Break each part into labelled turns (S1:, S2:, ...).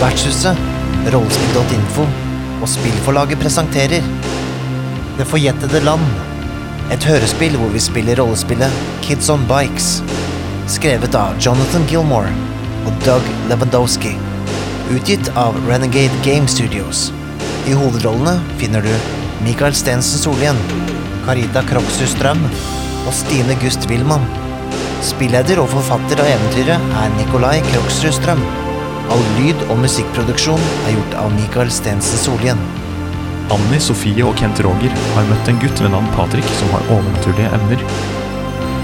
S1: Vertshuset, rollespill.info og spillforlaget presenterer Det forjettede land. Et hørespill hvor vi spiller rollespillet Kids on Bikes. Skrevet av Jonathan Gilmore og Doug Lewandowski. Utgitt av Renegade Game Studios. I hovedrollene finner du Michael Stensen Solien, Carita Kroksus Strøm og Stine Gust Wilman. Spilleder og forfatter av eventyret er Nikolai Kroksrud Strøm. All lyd- og musikkproduksjon er gjort av Michael Stensen Solien.
S2: Anni, Sofie og Kent Roger har møtt en gutt ved navn Patrick som har overnaturlige evner.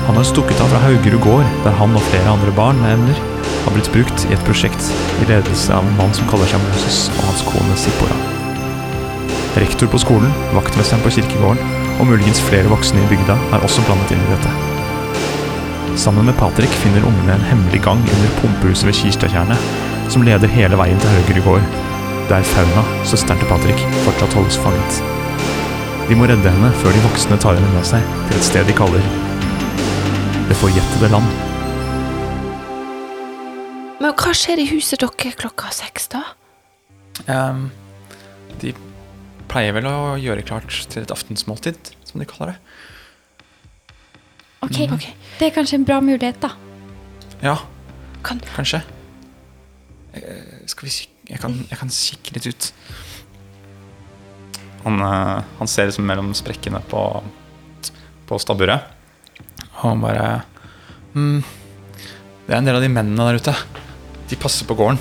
S2: Han har stukket av fra Haugerud gård, der han og flere andre barn med evner har blitt brukt i et prosjekt i ledelse av en mann som kaller seg Moses og hans kone Sippora. Rektor på skolen, vaktmesteren på kirkegården og muligens flere voksne i bygda er også blandet inn i dette. Sammen med Patrick finner ungene en hemmelig gang under pumpehuset ved Kirstatjernet, som leder hele veien til Haugerud gård, der Fauna, søsteren til Patrick, fortsatt holdes fanget. De må redde henne før de voksne tar henne med seg til et sted de kaller Det forjettede land.
S3: Men hva skjer i huset dere klokka seks, da?
S4: Ehm, de pleier vel å gjøre klart til et aftensmåltid, som de kaller det.
S5: Ok,
S1: Mhm.
S3: Ok.
S5: Det er kanskje en bra mulighet, da.
S4: Ja,
S3: Kan,
S4: kanskje. Eh, skal vi kik jeg, kan, jeg kan kikke litt ut. Han, eh, han ser liksom mellom sprekkene på, på stabburet. Og han bare mm, Det er en del av de mennene der ute. De passer på gården.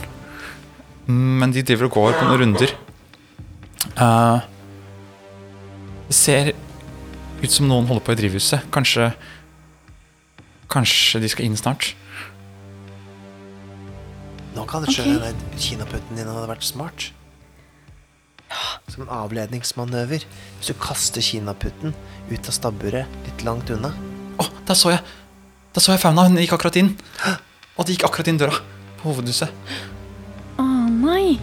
S4: Mm, men de driver og går på noen runder. Eh, det ser ut som noen holder på i drivhuset. Kanskje Kanskje de skal inn snart.
S1: Nå kan du skjønne okay. den kinaputten din hadde vært smart. Som en avledningsmanøver. Hvis du kaster kinaputten ut av stabburet litt langt unna.
S4: Å, der så jeg Der så jeg Fauna. Hun gikk akkurat inn. Og de gikk akkurat inn døra på hovedhuset.
S5: Å nei.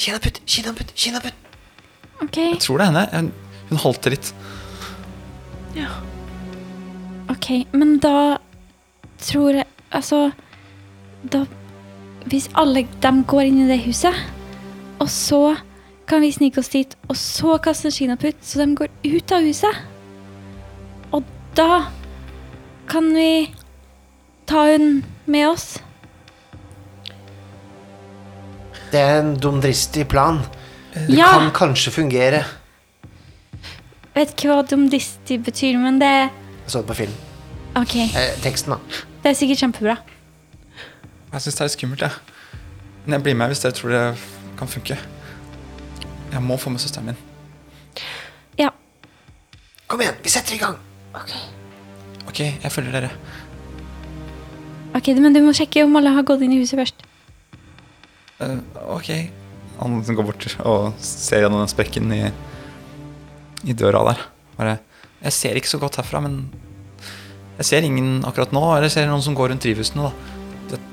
S1: Kinaputt, kinaputt, kinaputt!
S5: Ok,
S4: Jeg tror det er henne. Hun, hun holdt det litt.
S5: ok. Men da tror jeg Altså, da Hvis alle dem går inn i det huset, og så kan vi snike oss dit, og så kaste en kinaputt, så de går ut av huset. Og da kan vi ta hun med oss.
S1: Det er en dumdristig plan. Det
S5: Ja.
S1: kan kanskje fungere.
S5: Vet ikke hva dumdisti betyr, men det
S1: Jeg så det på film.
S5: Ok,
S1: Eh, teksten, da.
S5: det er sikkert kjempebra.
S4: Jeg syns det er litt skummelt, jeg. Men jeg blir med hvis dere tror det kan funke. Jeg må få med søsteren min.
S5: Ja.
S1: Kom igjen, vi setter i gang!
S4: OK, jeg følger dere.
S5: Ok, Men du må sjekke om alle har gått inn i huset først.
S4: Eh, OK. Han som går bort og ser gjennom den sprekken i, i døra der. Bare Jeg ser ikke så godt herfra, men jeg ser ingen akkurat nå. Eller jeg ser noen som går rundt drivhusene, da. Det er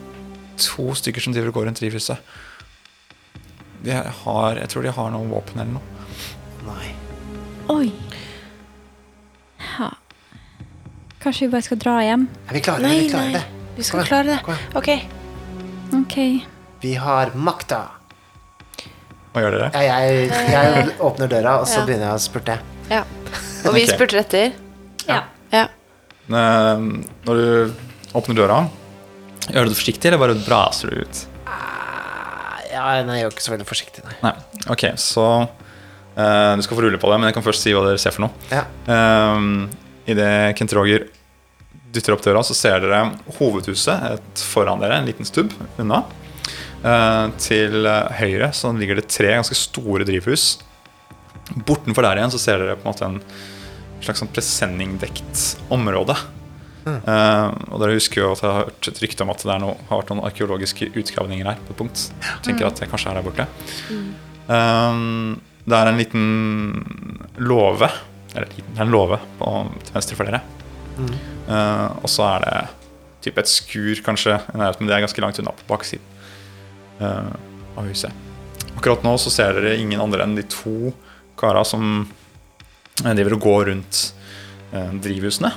S4: to stykker som driver og går rundt drivhuset. De har, jeg tror de har noe våpen eller noe.
S1: Nei.
S5: Oi. Ja. Kanskje vi bare skal dra hjem?
S1: Er vi klare?
S3: nei,
S1: vi klarer
S3: nei.
S1: det.
S3: Vi
S1: Kom
S3: skal
S1: igjen,
S3: klare
S1: kom
S3: det. OK.
S5: Ok.
S1: Vi har makta!
S4: Hva gjør dere?
S1: Ja, jeg, jeg åpner døra, og så begynner jeg å spurte.
S3: Ja. Og vi
S4: Ok.
S3: spurte etter.
S5: Ja.
S3: Ja.
S4: Eh, Når du åpner døra, gjør du det forsiktig, eller bare braser du ut?
S1: Ja, nei, jeg er jo ikke så veldig forsiktig, nei.
S4: Nei. OK, så eh, Du skal få rulle på det, men jeg kan først si hva dere ser for noe.
S1: Ja.
S4: Um, Idet Kent Roger dytter opp døra, så ser dere hovedhuset et foran dere, en liten stubb unna. Eh, til eh, høyre så ligger det tre ganske store drivhus. Bortenfor der igjen så ser dere på en måte en slags sånn presenningdekt område. Eh, og dere husker jo at jeg har hørt et rykte om at det er noe, har vært noen arkeologiske utgravninger her. på et punkt. Jeg tenker at det kanskje er der borte. Um, det er en liten låve Eller liten, det er en låve på, til venstre for dere. Uh, og så er det typ et skur, kanskje, i nærheten, men det er ganske langt unna på baksiden uh, av huset. Akkurat nå så ser dere ingen andre enn de to kara som eh, driver og går rundt eh, drivhusene.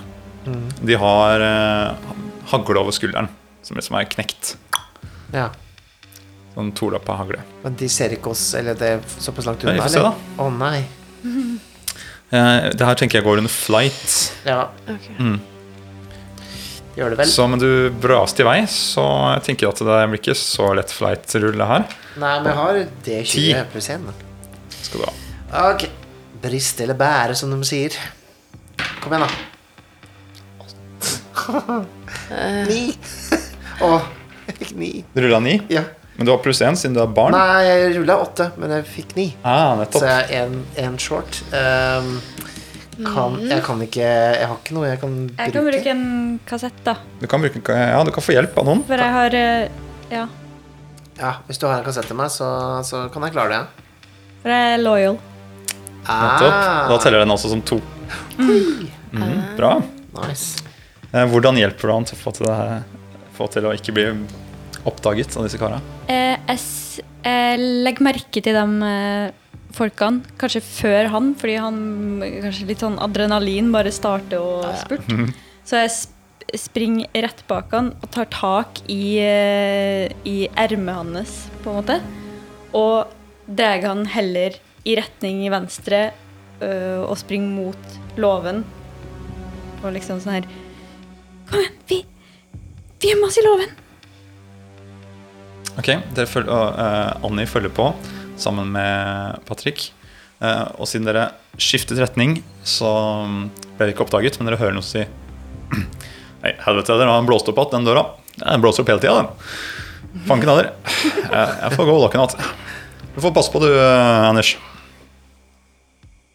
S4: De har eh, hagle over skulderen, som liksom er knekt.
S1: ja.
S4: Sånn tolappa hagle.
S6: Men de ser ikke oss, eller det er såpass langt
S4: Ja, vi
S6: unna,
S4: får se, da.
S6: Å nei.
S4: Eh, det her tenker jeg går under flight.
S6: Ja,
S4: Mm.
S6: gjør det vel.
S4: Så men du braste i vei, så jeg tenker jeg at det blir ikke så lett flight-rulle her.
S6: Nei, men jeg har
S4: Ti.
S6: D20 pluss 1.
S4: Skal du ha.
S6: Ok. Briste eller bære, som de sier. Kom igjen, da. Ni. Å, jeg fikk ni.
S4: Du rulla ni,
S6: Ja.
S4: men du har pluss én siden du er barn.
S6: Nei, jeg rulla åtte, men jeg fikk ni.
S4: Ah, nettopp.
S6: Så jeg er en- en short. Ehm, kan, jeg kan ikke Jeg har ikke noe Mm. jeg kan bruke.
S5: Jeg kan bruke en kassett, da.
S4: Du kan, bruke, ja, du kan få hjelp av noen.
S5: For jeg har eh, Ja.
S6: Ja, Hvis du har en kassett til meg, så, så kan jeg klare det.
S5: For jeg er loyal.
S4: Nettopp. Da
S6: Ah, Mm.
S4: teller den altså som to. Mhm, bra.
S6: nice.
S4: Eh, Hvordan hjelper du han til å få til, det her, få til å ikke bli oppdaget av disse karene?
S5: Eh, jeg s- eh, legger merke til de eh, folkene, kanskje før han, fordi han eh, kanskje litt sånn adrenalin bare starter å spurte. Så jeg sp springer rett bak han og tar tak i, eh, i ermet hans, på en måte. Og dreier han heller i retning i venstre øh, og springer mot låven. Og liksom sånn her Kom igjen, vi, vi gjemmer oss i låven!
S4: Ok, dere føl og, eh, Annie følger på sammen med Patrick. Eh, og siden dere skiftet retning, så mm, ble dere ikke oppdaget, men dere hører noe si Hei, helvete, dere har blåst opp igjen den døra. Ja, Den blåser opp hele tida, den. Fanken av dere. Jeg, jeg får gå og lukke den igjen. Du får passe på, du, eh, Anders.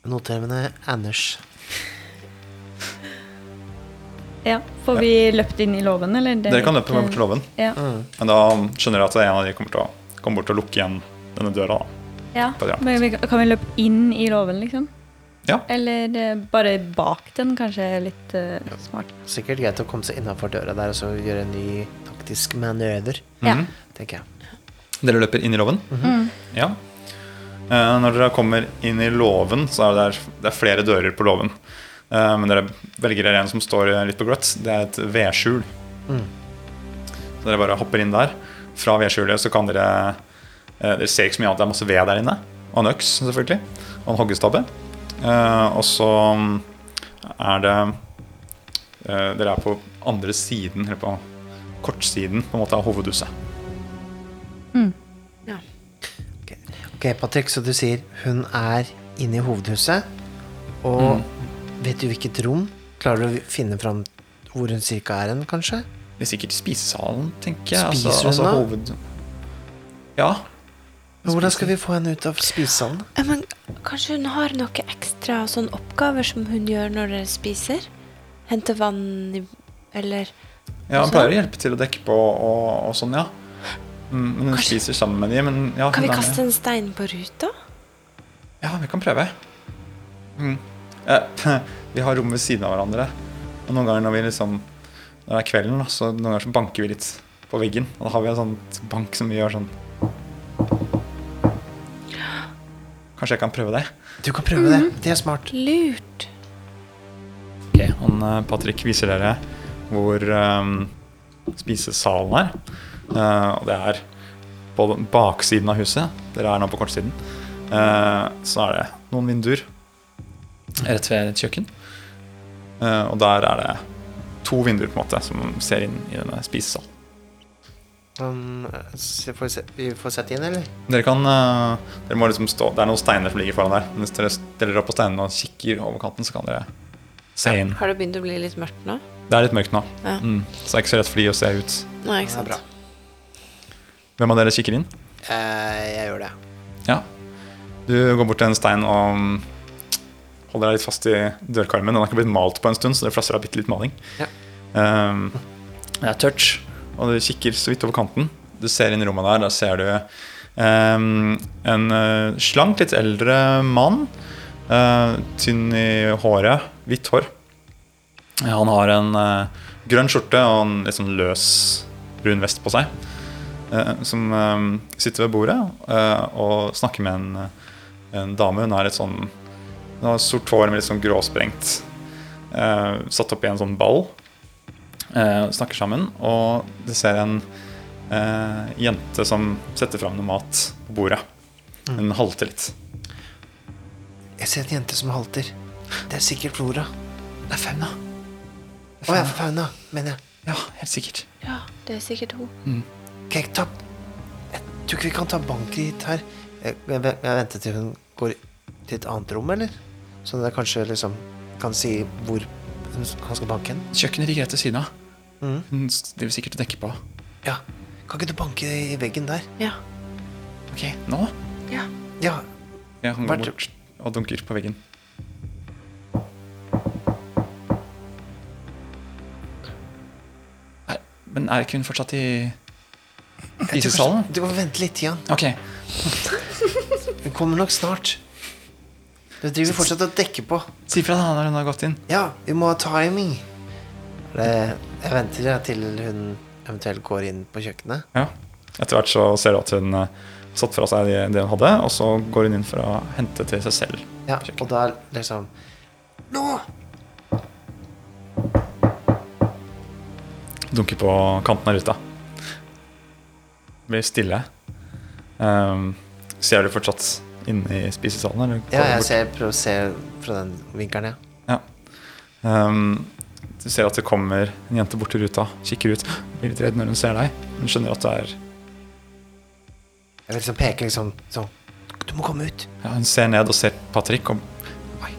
S6: Noter mine Anders.
S5: Ja, Får vi løpt inn i låven, eller? Det-
S4: Dere kan løpe bort til låven. Mm.
S5: Ja.
S4: Men da skjønner dere at en av de kommer til å komme bort og lukke igjen denne døra. Da.
S5: ja.
S4: På jakt.
S5: Men vi, kan vi løpe inn i låven, liksom?
S4: Ja.
S5: Eller eh, bare bak den, kanskje er litt eh, smart.
S6: Sikkert greit å komme seg innafor døra der og så gjøre en ny taktisk manøver,
S4: Mhm.
S5: Ja.
S6: tenker jeg.
S4: Dere løper inn i låven? Ja. Eh, når dere kommer inn i låven, så er det, der, det er flere dører på låven. Eh, men dere velger dere en som står eh, litt på gløtt. Det er et vedskjul. Så dere bare hopper inn der. Fra vedskjulet så kan dere eh, Dere ser ikke så mye annet, det er masse ved der inne. Og en øks, selvfølgelig. Og en hoggestabbe. Eh, og så mm, er det eh, Dere er på andre siden, eller på kortsiden på en måte av hovedhuset.
S6: Ok, Patrick, så du sier hun er inne i hovedhuset, og vet du hvilket rom? Klarer du å finne fram hvor hun cirka er hen, kanskje?
S4: Det er sikkert i spisesalen, tenker jeg.
S6: Spiser hun
S4: altså,
S6: da?
S4: altså, hoved... Ja.
S6: Men hvordan skal vi få henne ut av spisesalen?
S3: Ja, Men kanskje hun har noen ekstra sånn oppgaver som hun gjør når dere spiser? Hente vann i Eller
S4: ja,
S3: Også?
S4: han pleier å hjelpe til å dekke på og, og sånn, ja. Mm, men hun
S3: Kanskje-
S4: spiser sammen med de, men ja,
S3: kan vi
S4: hun er
S3: kaste
S4: med.
S3: en stein på ruta?
S4: Ja, vi kan prøve. Mm. Eh, vi har rom ved siden av hverandre. Og noen ganger når vi liksom Når det er kvelden, da, så noen ganger så banker vi litt på veggen. Og da har vi en sånn bank som vi gjør sånn Kanskje jeg kan prøve det?
S6: Du kan prøve det. Det er smart.
S3: Lurt.
S4: Ok, han, eh, Patrick viser dere hvor ehm, spisesalen er. Eh, og det er på den baksiden av huset. Dere er nå på kortsiden. Eh, så er det noen vinduer rett ved et kjøkken. Eh, og der er det to vinduer på en måte som ser inn i denne spisesalen.
S6: Um, se- får vi, se, vi får sette inn, eller?
S4: Dere kan, eh, dere må liksom stå, Det er noen steiner som ligger foran der. Men Hvis dere stiller dere på steinene og kikker over kanten, så kan dere se inn.
S3: Har det begynt å bli litt mørkt nå?
S4: Det er litt mørkt nå,
S3: Ja.
S4: mm, så det er ikke så lett for de å se ut.
S3: Nei, ikke
S6: Ja,
S3: sant.
S6: bra.
S4: Hvem av dere kikker inn?
S6: Eh, jeg gjør det.
S4: Ja. Du går bort til en stein og mm, holder deg litt fast i dørkarmen. Den har ikke blitt malt på en stund, så det flasser av bitte litt maling.
S6: Ja.
S4: Ehm, det er tørt, og du kikker så vidt over kanten. Du ser inn i rommet der, der ser du ehm, en eh, slank, litt eldre mann. eh, tynn i håret, hvitt hår. Ja, han har en eh, grønn skjorte og en litt sånn løs brun vest på seg eh, som eh, sitter ved bordet eh, og snakker med en, eh, en dame. Hun er litt sånn Hun har sort hår med litt sånn gråsprengt. eh, satt opp i en sånn ball. Eh, snakker sammen, og du ser en eh, jente som setter fram noe mat på bordet. Hun halter litt.
S6: Jeg ser en jente som halter. Det er sikkert Flora.
S4: Det er Fauna.
S6: Å ja, Fauna, mener jeg.
S4: Ja, helt sikkert.
S3: Ja, det er sikkert hun.
S6: Kan jeg ikke ta Jeg tror ikke vi kan ta banker hit her. Jeg, jeg, jeg venter til hun går til et annet rom, eller? Sånn at jeg kanskje liksom kan si hvor hun- han skal banke henne.
S4: Kjøkkenet ligger rett ved siden av.
S6: Mm.
S4: Hun driver sikkert og dekker på.
S6: Ja. Kan ikke du banke i veggen der?
S3: Ja.
S4: Ok, nå?
S3: ja.
S6: Ja.
S4: Ja, han går
S6: Vært-
S4: bort og dunker på veggen. Er- Men er ikke hun fortsatt i
S6: jeg tror
S4: isesalen?
S6: kanskje- Du må vente litt, Jan.
S4: Ok.
S6: Hun kommer nok snart. Du driver fortsatt og dekker på.
S4: Si fra da når hun har gått inn.
S6: Ja, vi må ha timing. Det, jeg venter jeg, til hun eventuelt går inn på kjøkkenet.
S4: Ja. Etter hvert så ser du at hun eh, satt fra seg det hun hadde, og så går hun inn for å hente til seg selv.
S6: Ja,
S4: Kjøkken.
S6: og da er liksom Nå!
S4: Dunker på kanten av ruta. Blir stille. Um, ser du fortsatt inne i spisesalen? Eller
S6: Ja,
S4: går du
S6: jeg
S4: bort?
S6: ser, prøver å se fra den vinkelen, ja.
S4: Ja. Ehm, du ser at det kommer en jente bort til ruta, kikker ut, blir litt redd når hun ser deg. Hun skjønner at det er
S6: Jeg vil liksom peke liksom sånn Du må komme ut.
S4: ja, Hun ser ned og ser Patrick og Oi.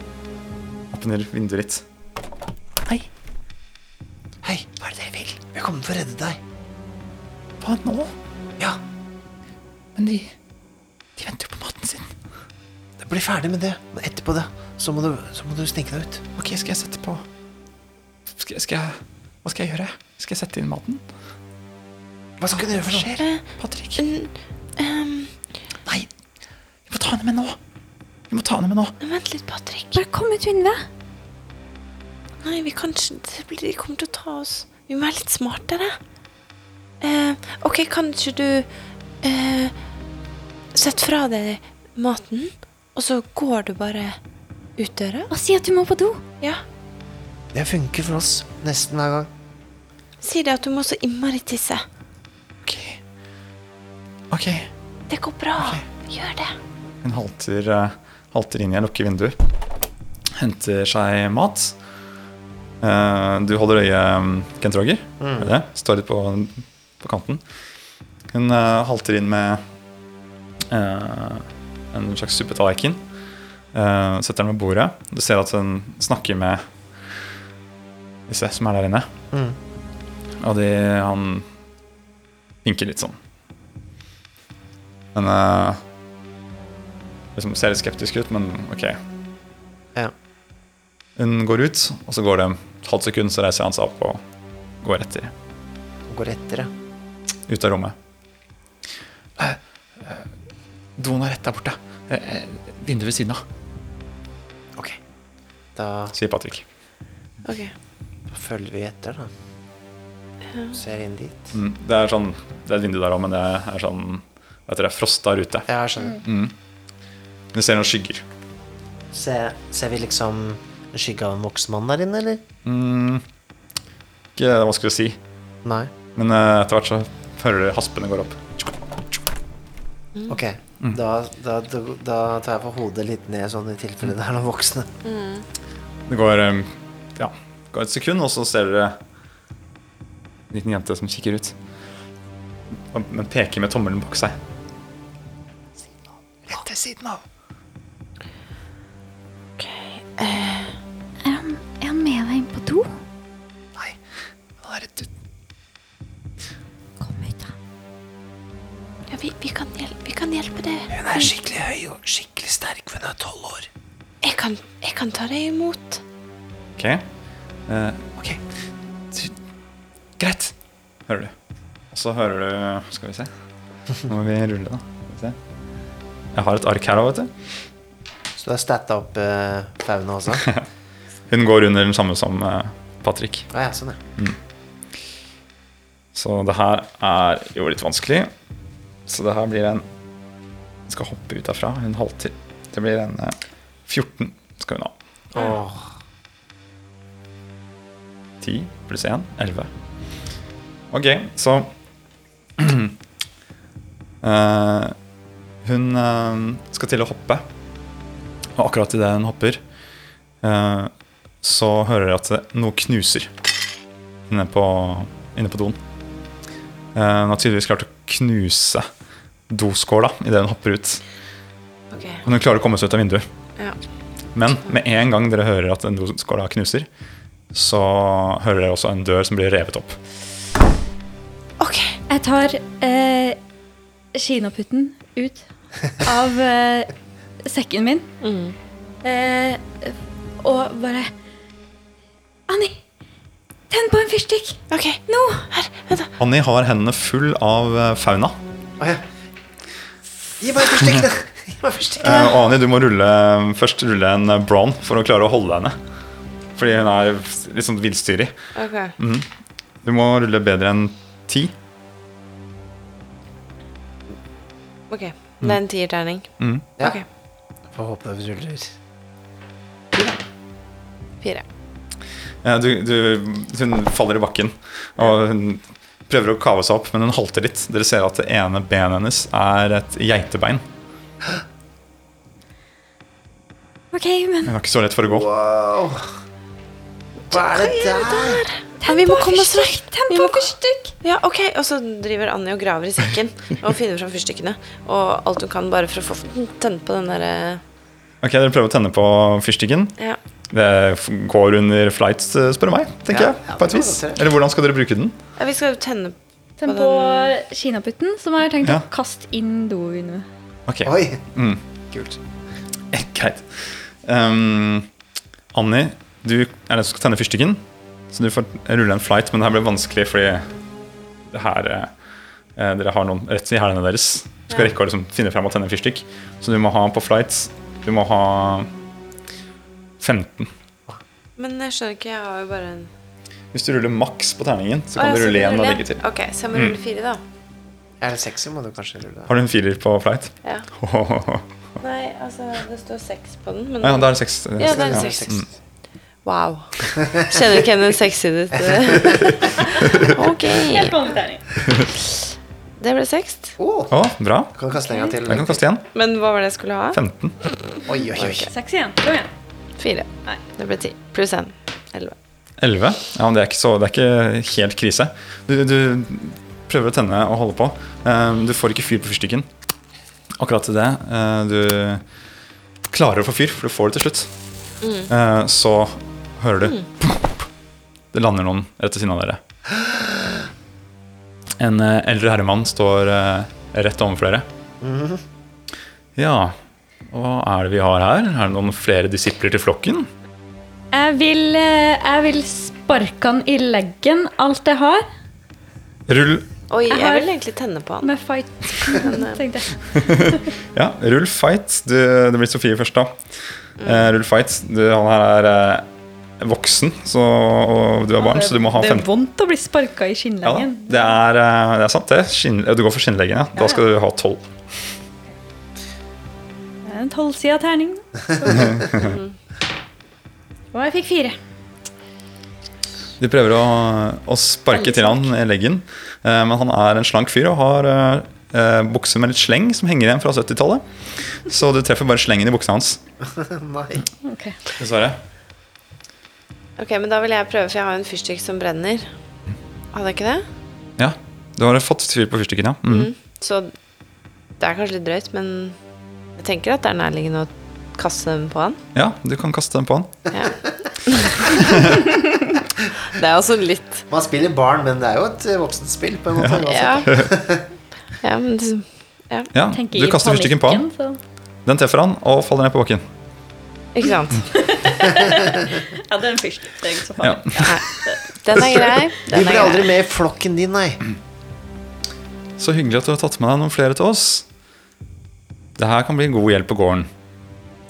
S4: åpner vinduet litt.
S6: Hei. Hei, hva er det dere vil? Vi kommer for å redde deg.
S4: Hva nå?
S6: Ja,
S4: Men de De venter jo på maten sin.
S6: bli ferdig med det. Men etterpå det, så må du, så må du snike deg ut.
S4: Ok, skal jeg sette på skal, skal jeg Hva skal jeg gjøre? Skal jeg sette inn maten?
S6: Hva skal du gjøre for noe?
S3: Eh,
S4: Patrick?
S3: n- ehm,
S4: Nei! Vi må ta henne med nå! Vi må ta henne med nå!
S3: vent litt, Patrick.
S5: Bare kom ut vinduet.
S3: Nei, vi kan ikke det blir- De kommer til å ta oss Vi må være litt smartere. Eh, OK, kan ikke du eh, Sett fra deg maten, og så går du bare ut døra?
S5: Og si at du må på do.
S3: Ja.
S6: Det funker for oss nesten hver gang.
S3: Si det at du må så innmari tisse.
S4: Ok. Ok.
S3: Det går bra. Gjør det.
S4: Hun halter, eh, halter inn igjen, lukker vinduer. Henter seg mat. Eh, Du holder øye, mm, Kent Roger. er det det? Står litt på, på kanten. Hun eh, halter inn med eh, en slags suppetallerken. Eh, Setter den ved bordet. Du ser at hun snakker med disse som er der inne.
S6: Mm.
S4: Og de, han vinker litt sånn. Men eh, liksom ser litt skeptisk ut, men ok.
S6: Ja.
S4: Hun går ut, og så går det et halvt sekund, så reiser han seg opp og går etter.
S6: Og går etter det.
S4: Ut av rommet. Doen Eh, er rett der borte. Eh, Vinduet ved siden av.
S6: Ok. Da
S4: Sier Patrick.
S3: OK.
S6: følger vi etter, da. Ser inn dit.
S4: Mm, det er sånn, det er et vindu der òg, men det er sånn Jeg tror det er frosta rute.
S6: Ja, jeg skjønner.
S3: Mm.
S4: Du ser noen skygger.
S6: Se, ser vi liksom en skygge av en voksen mann der inne, eller?
S4: Ikke det er vanskelig å si,
S6: Nei.
S4: men eh, etter hvert så hører du haspene går opp.
S6: Ok, da, da, da, da tar jeg på hodet litt ned, sånn i tilfelle det er noen voksne.
S4: Det går, eh, ja, det går et sekund, og så ser dere en liten jente som kikker ut. Og- Men peker med tommelen bak seg. Rett til siden av.
S5: Er han, er han med deg inn på do?
S4: Nei, han er rett ut.
S5: Kom ut, da.
S3: Ja, vi, vi, kan hjelpe, vi kan hjelpe deg.
S6: Hun er skikkelig høy og skikkelig sterk, for hun er tolv år.
S3: Jeg kan, jeg kan ta deg imot.
S4: Ok. Eh, ok. Du- Greit. Hører du. Og så hører du Skal vi se. Nå må vi rulle, da. Skal vi se. Jeg har et ark her òg, vet du.
S6: Så du har statta opp eh, fauna også?
S4: Hun går under den samme som eh, Patrick.
S6: Ja, ja, sånn, ja.
S4: Så det her er jo litt vanskelig. Så det her blir en Hun skal hoppe ut herfra. Hun halter. Det blir en eh, 14 skal hun ha.
S6: Åh,
S4: 10 pluss 1 11. Ok, så Eh, hun eh, skal til å hoppe, og akkurat idet hun hopper, eh, så hører jeg at noe knuser inne på, inne på doen. Eh, hun har tydeligvis klart å knuse doskåla idet hun hopper ut.
S3: Ok.
S4: Men hun klarer å komme seg ut av vinduet.
S3: Ja.
S4: Men med en gang dere hører at den doskåla knuser, så hører dere også en dør som blir revet opp.
S3: OK.
S5: Jeg tar eh, kinaputten ut av eh, sekken min. Eh, og bare Anni, tenn på en fyrstikk!
S3: ok.
S5: Nå!
S4: Annie har hendene full av eh, fauna.
S6: Å ja. Gi meg en fyrstikk, da! Gi meg en fyrstikk.
S4: Eh, og Annie, du må rulle, først rulle en eh, brown for å klare å holde henne. Fordi hun er litt sånn villstyrig. Du må rulle bedre enn ti.
S3: ok.
S4: Mm.
S3: Det er en tierterning.
S6: Ja.
S3: Ok.
S6: Får håpe det ruller.
S3: Fire.
S4: Eh, du, du, hun faller i bakken, og hun prøver å kave seg opp, men hun halter litt. Dere ser at det ene benet hennes er et geitebein.
S5: OK, men
S4: Hun er ikke så lett for å gå.
S6: Wow. Hva er det der?
S3: Men vi må komme oss vekk.
S5: fyrstikk! Tenn
S3: Vi
S5: på
S3: må
S5: en
S3: ko-
S5: fyrstikk!
S3: Ja, ok. Og så driver Annie og graver i sekken og finner fram fyrstikkene. Og alt hun kan bare for å få tenne på den derre
S4: Ok, Dere prøver å tenne på fyrstikken.
S3: ja.
S4: Det f- går under flight, eh, spør du meg. tenker
S6: Ja, ja,
S4: jeg, på et
S6: det
S4: vis.
S6: kan jeg se.
S4: Eller hvordan skal dere bruke den?
S3: ja, vi skal jo tenne
S5: Tenn
S3: på
S5: på kinaputten, som jeg har tenkt
S4: Ja.
S5: å kaste inn dovinduet.
S4: Ok,
S6: Oi.
S4: Mm.
S6: Kult.
S4: Eh, Greit. Ehm, Annie, du er den som skal tenne fyrstikken. Så du får rulle en flight, men det her blir vanskelig fordi det her eh, eh, Dere har noen rett i hælene deres. Du skal
S3: Ja.
S4: rekke å liksom finne frem og tenne en fyrstikk. Så du må ha på flight Du må ha 15.
S3: Men jeg skjønner ikke, jeg har jo bare en
S4: Hvis du ruller maks på terningen, så
S3: Å,
S4: kan
S3: ja,
S4: du rulle
S3: jeg
S4: én og
S3: ruller.
S4: legge til. Mm.
S3: Ok, så jeg må rulle fire, da.
S6: Er det sexy, må du kanskje rulle.
S4: Har du en firer på flight?
S3: Ja.
S4: Ja,
S3: Nei, altså, det står seks på den, men
S4: da er det seks. Mm.
S3: Ja, det er en seks. Wow. Kjenner ikke henne sekssidet. eh. Ok. Det ble seks.
S6: Åh,
S4: Å, bra.
S6: Kan du kaste en gang til?
S4: Jeg kan kaste igjen.
S3: Men hva var det jeg skulle ha?
S4: 15.
S6: Oi, oi, oi.
S5: Seks igjen. Kom igjen.
S3: Fire.
S5: Nei.
S3: Det ble ti. Pluss én. Elleve.
S4: 11? Ja, men det er ikke, så, det er ikke helt krise. Du, du prøver å tenne og holde på. Ehm, Du får ikke fyr på fyrstikken. Akkurat til det eh, du klarer å få fyr, for du får det til slutt. Eh, Så hører du Det lander noen rett ved siden av dere. En eh, eldre herremann står eh, rett overfor dere. Ja, hva er det vi har her? Er det noen flere disipler til flokken?
S5: Jeg vil, eh, jeg vil sparke han i leggen, alt jeg har,
S4: Rull
S3: Oi, jeg,
S5: har-
S3: vil egentlig tenne på han.
S5: med fight. tenkte jeg.
S4: Ja, rull fight. Du, det blir Sofie først, da. Eh, rull fight. Du, han her er eh, voksen, så, og du er barn, så du må ha
S5: det er
S4: 15.
S5: vondt å bli sparka
S4: Ja,
S5: i
S4: da.
S5: skinnleggen.
S4: det, er, eh, det er sant, det. Skinn, du går for skinnleggen, ja. Da skal du ha 12.
S5: Det er En tolvsida terning. Og jeg fikk fire.
S4: Du prøver å, å sparke til han i leggen, eh, men han er en slank fyr og har eh, eh, bukser med litt sleng som henger igjen fra 70-tallet. Så du treffer bare slengen i buksa hans,
S6: Nei.
S4: dessverre.
S3: Ok, men da vil jeg prøve, for jeg har jo en fyrstikk som brenner. Hadde jeg ikke det?
S4: Ja, du har fått fyr på fyrstikken, ja. Mm.
S3: Så det er kanskje litt drøyt, men jeg tenker at det er nærliggende å kaste dem på han.
S4: Ja, du kan kaste den på han.
S3: Ja. det er også litt
S6: Man spiller barn, men det er jo et eh, voksent spill på en måte. Altså, uansett.
S3: Ja. ja, men liksom, det,
S4: Ja,
S5: Tenker
S4: du
S5: i
S4: kaster fyrstikken på han.
S5: panikken, så-
S4: Den treffer han og faller ned på bakken.
S3: Ikke sant?
S5: Ja, det er en fyrstikk. Det er ikke så
S4: Ja.
S5: farlig.
S3: Den er grei.
S6: Du
S3: Den
S6: blir
S3: er
S6: aldri
S3: grei.
S6: med i flokken din, nei.
S4: Så hyggelig at du har tatt med deg noen flere til oss. Det her kan bli god hjelp på gården.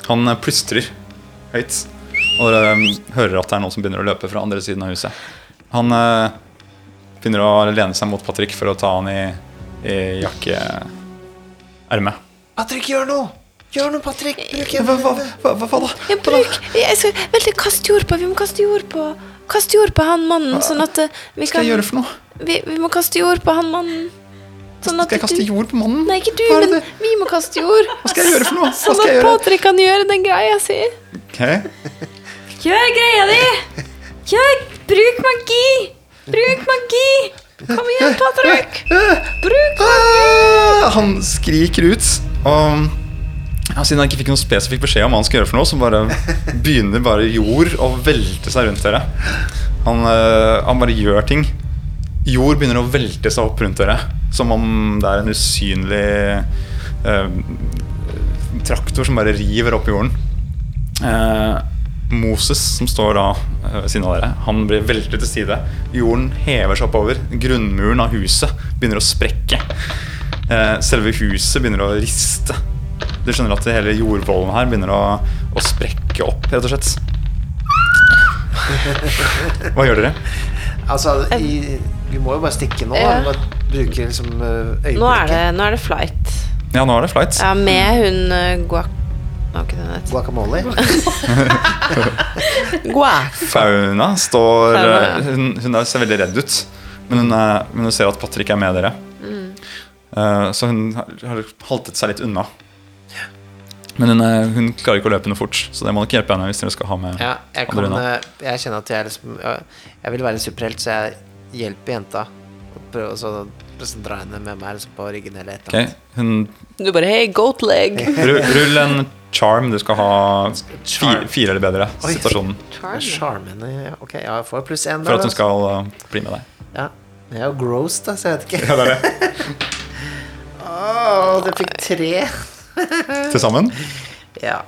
S4: Han eh, plystrer høyt og eh, hører at det er noen som begynner å løpe fra andre siden av huset. Han eh, begynner å lene seg mot Patrick for å ta han i, i jakkeermet.
S6: Patrick, gjør noe! Gjør noe, Patrick! Bruk en
S4: hva da?
S3: Ja, bruk jeg skal, Vent litt, kast jord på. Vi må kaste jord på Kast jord på han mannen, sånn at eh, vi
S4: Hva skal
S3: kan
S4: jeg gjøre for noe?
S3: vi, vi må kaste jord på han mannen. Sånn at
S4: Skal jeg kaste
S3: du-
S4: jord på mannen?
S3: Nei, ikke du,
S4: Hva er det
S3: men
S4: det-
S3: vi må kaste jord.
S4: Hva skal jeg gjøre for noe? Hva
S3: Sånn
S4: skal
S3: at
S4: jeg gjøre?
S3: Patrick kan gjøre den greia si.
S4: Ok,
S5: Gjør greia di! Gjør Bruk magi! Bruk magi!
S3: Kom igjen, Patrick!
S6: Øh!
S3: Bruk
S4: Ah, Han skriker ut. Og ja, siden han ikke fikk noen spesifikk beskjed om hva han skal gjøre, for noe Så bare begynner bare jord å velte seg rundt dere. Han, eh, han bare gjør ting. Jord begynner å velte seg opp rundt dere. Som om det er en usynlig eh, traktor som bare river opp jorden. Eh, Moses, som står da eh, ved siden av dere, han blir veltet til side. Jorden hever seg oppover. Grunnmuren av huset begynner å sprekke. Eh, Selve huset begynner å riste. Du skjønner at hele jordvollen her begynner å, å sprekke opp, rett og slett. Hva gjør dere?
S6: Altså, i, vi må jo bare stikke nå.
S3: Ja.
S6: Ja. Bare bruke liksom eh, øyeblikket.
S3: Nå er det, nå er det flight.
S4: Ja, nå er det flight.
S3: Ja, med hun eh, guac... Hva er ikke den heter?
S6: Guacamole.
S3: Guac.
S4: Fauna står eh,
S3: Fauna, ja.
S4: Hun, hun er- ser veldig redd ut, men hun, er, men hun ser at Patrick er med dere.
S6: Mm.
S4: Eh, så hun har har haltet seg litt unna. Men hun, er, hun klarer ikke å løpe noe fort, så det må dere hjelpe henne hvis dere skal ha med
S6: Ja, jeg,
S4: andre
S6: kan,
S4: unna.
S6: eh, jeg kjenner at jeg liksom Jeg, jeg vil være en superhelt, så jeg hjelper jenta. Og prøver også å liksom dra henne med meg liksom, på ryggen eller et
S4: Ok,
S6: eller annet.
S4: hun,
S3: Du bare Hei, goat leg.
S4: rull, rull en charm. Du skal ha fire,
S6: Charm.
S4: fire eller bedre.
S6: Oi.
S4: Situasjonen
S6: Jeg er Sjarmerende. ja. Ok, ja, jeg får pluss én.
S4: For at hun skal eh, bli med deg.
S6: Ja. Men Jeg er jo gross, da, så jeg vet ikke.
S4: Ja, det er det.
S6: Åh, du fikk tre.
S4: Til sammen.
S6: Ja.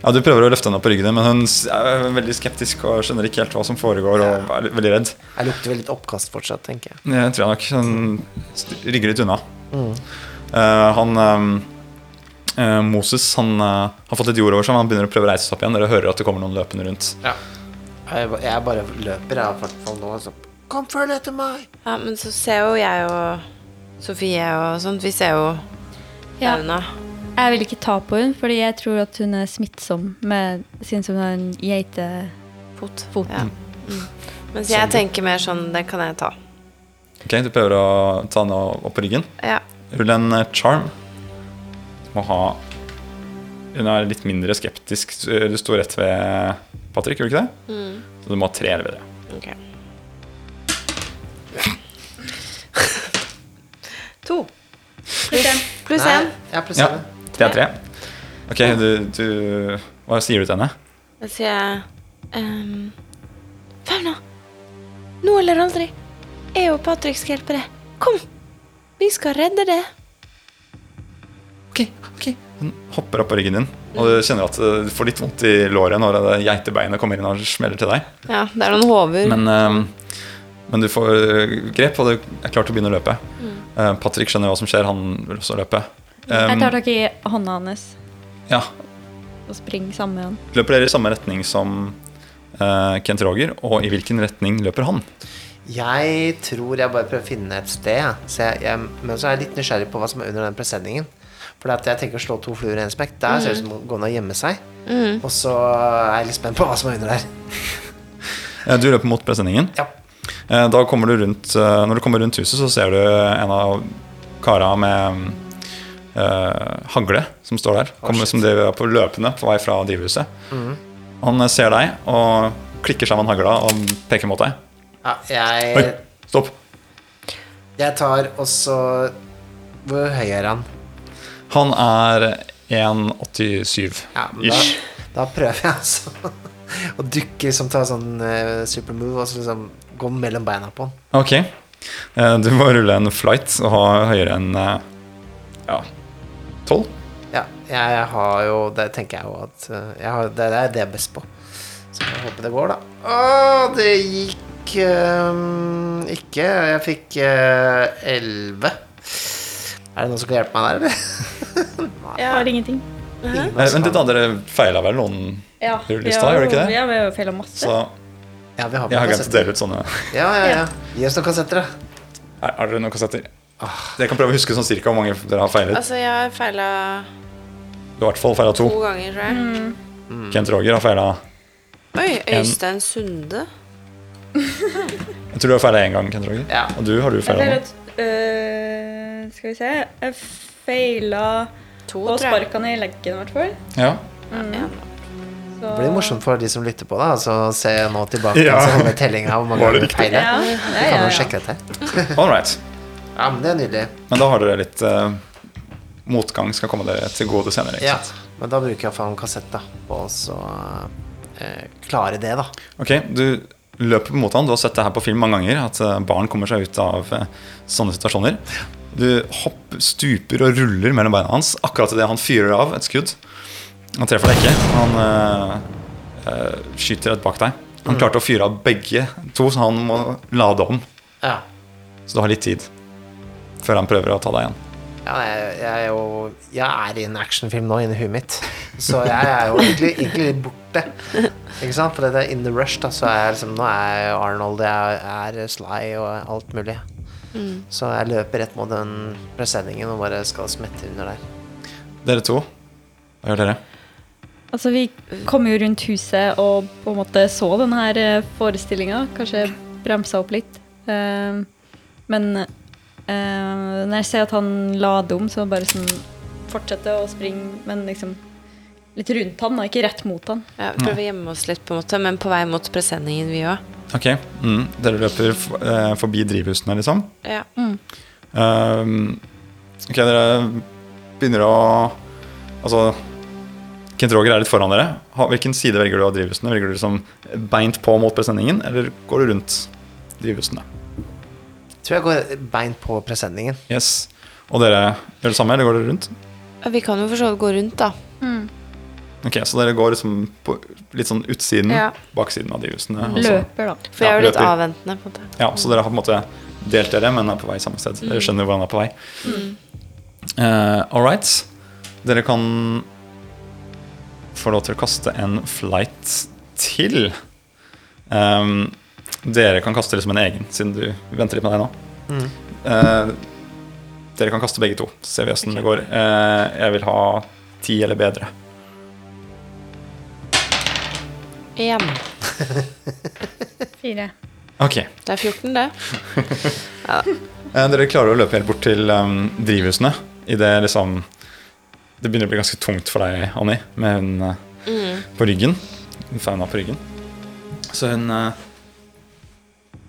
S4: Ja, Du prøver å løfte henne opp på ryggen, din, men hun s- er veldig skeptisk og skjønner ikke helt hva som foregår. Og er veldig redd
S6: Jeg lukter vel litt oppkast fortsatt, tenker jeg.
S4: Jeg tror jeg nok Hun st- rygger litt unna. Eh, han eh, eh, Moses han eh, har fått litt jord over seg, men han begynner å prøve å reise seg opp igjen. Dere hører at det kommer noen løpende rundt.
S6: Jeg, ba- jeg bare løper, jeg, i hvert fall nå. Så. Kom, følg etter meg!
S3: Ja, men så ser jo jeg og Sofie og sånt, vi ser jo
S5: Ja.
S3: Fauna.
S5: Jeg vil ikke ta på henne, fordi jeg tror at hun er smittsom med siden hun har en geitefot.
S3: Ja. Mm. Mens jeg tenker mer sånn, det kan jeg ta.
S4: Ok, Du prøver å ta henne opp på ryggen.
S3: Ja.
S4: Rull en eh, charm. Må ha Hun er litt mindre skeptisk. eh, Du står rett ved Patrick, gjør du ikke det? Så du må ha tre eller bedre.
S3: Ok. To. Pluss én. Pluss
S6: Nei,
S3: én.
S6: Ja, pluss
S4: Ja,
S6: én.
S4: det er tre. Ok, du, du Hva sier du til henne?
S3: Da sier jeg ehm, Fauna! Nå eller aldri. Jeg og Patrick skal hjelpe deg. Kom! Vi skal redde det.
S4: Ok, ok Hun hopper opp på ryggen din, og du kjenner at eh, du får litt vondt i låret når det geitebeinet kommer inn og smeller til deg.
S3: Ja, det er noen hover.
S4: Men, eh, men du får eh, grep, og du er klar til å begynne å løpe.
S5: Mm.
S4: Eh, Patrick skjønner hva som skjer, han vil også løpe.
S5: Jeg
S4: Um,
S5: tar tak i hånda hans
S4: ja,
S5: og springer sammen med han.
S4: løper dere i samme retning som eh, Kent Roger, og i hvilken retning løper han?
S6: Jeg tror jeg bare prøver å finne et sted. jeg. Så jeg, jeg, men så er jeg litt nysgjerrig på hva som er under den presenningen. For at jeg tenker å slå to fluer i en smekk. Der ser det ut som å gå ned og gjemme seg. Og så er jeg litt spent på hva som er under der.
S4: Eh, du løper mot presenningen.
S6: Ja.
S4: Eh, Da kommer du rundt eh, Når du kommer rundt huset, så ser du en av kara med mm, eh, hagle som står der. Kommer,
S6: shit. Mhm.
S4: som driver på løpende på vei fra drivhuset. Han eh, ser deg og klikker sammen hagla og peker mot deg.
S6: ja
S4: Oi,
S6: jeg,
S4: stopp!
S6: jeg tar og så Hvor høy er han?
S4: Han er 1,87
S6: Ja, men da,
S4: ish.
S6: da prøver jeg altså å dukke, liksom ta sånn eh, supermove og så liksom gå mellom beina på han.
S4: Ok. Eh, Du må rulle en flight og ha høyere enn eh, ja, 12.
S6: Ja, jeg, har jo Det tenker jeg jo at eh, jeg har, det, det er det jeg er best på. Så jeg håper det går, da. Å, det gikk ehm, ikke. Jeg fikk eh, elleve. er det noen som kan hjelpe meg der, eller?
S5: Jeg har ingenting.
S7: Mhm.
S4: Eh, Vent litt, da. Dere feila vel noen
S5: Ja,
S4: Rull lista, gjør du ikke det?
S5: Ja, vi har jo feila masse.
S4: Så
S6: Ja, vi har
S4: jeg har
S6: noen
S4: glemt å
S6: kassetter.
S4: dele ut sånne.
S6: Ja, ja, ja. Gi oss noen kassetter, da.
S4: Her, har dere noen kassetter? Dere kan prøve å huske sånn cirka hvor mange dere har feilet.
S3: Altså, jeg har feila
S4: Du har i hvert fall feila to.
S3: to ganger, tror jeg.
S4: Kent Roger har feila
S3: Oi, Øystein Sunde.
S4: Jeg tror du har feila én gang, Kent Roger.
S6: Ja.
S4: Og du har du feila nå.
S5: at øh,
S7: skal vi se. Jeg feila
S3: To,
S7: og
S3: tror jeg. Mm.
S7: sparka ned i leggen, i hvert fall.
S4: Ja.
S3: Ja.
S7: Så-
S6: Det blir morsomt for de som lytter på, da. Altså, se nå tilbake
S4: Ja.
S6: ja. med tellinga hvor mange
S4: Var det
S6: ganger feil
S7: Ja,
S6: er.
S7: ja, ja,
S6: Kan
S7: ja.
S6: jo sjekke dette.
S4: All right.
S6: Ja, men det er nydelig.
S4: Men da har dere litt eh, motgang skal komme dere til gode senere. Ikke
S6: Ja.
S4: sant?
S6: Men da bruker jeg iallfall en kassett da, på oss å eh, klare det, da.
S4: Ok, Du løper mot han. Du har sett det her på film mange ganger. At eh, barn kommer seg ut av eh, sånne situasjoner. Du hopp, stuper og ruller mellom beina hans akkurat idet han fyrer av et skudd. Han treffer deg ikke. Han eh, eh, skyter rett bak deg. Han klarte å fyre av begge to, så han må lade om.
S6: Ja.
S4: Så du har litt tid før han prøver å ta deg igjen.
S6: Ja, jeg, jeg er jo Jeg er i en actionfilm nå inni huet mitt, så jeg er jo egentlig, egentlig litt borte. Ikke sant? For det er in the rush, da, så er jeg liksom Nå er jeg Arnold, jeg er Sly og alt mulig. Så jeg løper rett mot den presenningen og bare skal smette under der.
S4: Dere to, hva gjør dere?
S8: Altså, vi kom jo rundt huset og på en måte så denne forestillinga. Kanskje bremsa opp litt. Ehm, men eh, når jeg ser at han lader om, så bare sånn fortsette å springe, men liksom litt rundt han, da, ikke rett mot han.
S3: Ja, vi prøver å gjemme oss litt, på en måte, men på vei mot presenningen, vi òg.
S4: Ok, mm. Dere løper f eh, forbi drivhusene, liksom.
S3: Ja.
S4: Ehm, ok, dere begynner å Altså, Kent Roger er litt foran dere. Ha, hvilken side velger du av drivhusene? Velger du liksom beint på mot presenningen, eller går du rundt drivhusene?
S6: Tror jeg går beint på presenningen.
S4: Yes. Og dere gjør det samme, eller går dere rundt?
S3: Ja, Vi kan jo for så vidt gå rundt, da.
S4: Ok, Så dere går liksom på litt sånn utsiden,
S3: Ja.
S4: baksiden av drivhusene.
S5: Mm.
S4: og
S3: Altså.
S4: så-
S8: Løper, da.
S3: For
S4: Ja,
S3: jeg er jo litt
S4: løper.
S3: avventende. på en måte.
S4: Ja, så dere har på en måte delt dere, men er på vei samme sted. Dere skjønner hvor han er på vei. Eh, all right. Dere kan få lov til å kaste en flight til. Ehm, dere kan kaste liksom en egen, siden du venter litt med deg nå. Eh, dere kan kaste begge to, så ser vi hvordan det går. Eh, jeg vil ha ti eller bedre.
S3: Igjen.
S8: Fire.
S4: Ok.
S3: Det er 14, det.
S4: Eh, Dere klarer å løpe helt bort til um, drivhusene. I det, liksom, det begynner å bli ganske tungt for deg, Annie, med hun eh, på ryggen. Hun fauna på ryggen. Så hun eh,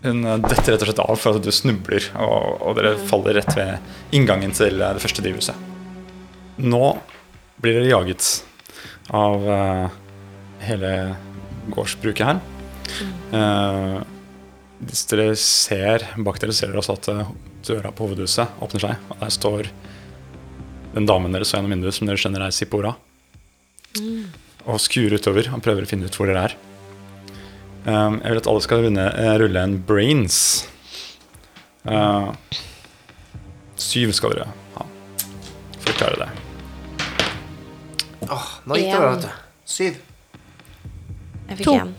S4: Hun eh, detter rett og slett av for at du snubler, og, og dere faller rett ved inngangen til eh, det første drivhuset. Nå blir dere jaget av eh, hele gårdsbruket her. Eh, hvis dere ser bak dere, ser dere også at eh, døra på hovedhuset åpner seg. Og der står den damen dere så gjennom vinduet, som dere skjønner er Sippora. Og skuer utover og prøver å finne ut hvor dere er. Um, jeg vil at alle skal runde, eh, rulle en brains. Uh, syv skal dere ha for å klare det.
S6: Åh, nå gikk det bra, vet du. Syv.
S3: Jeg fikk én.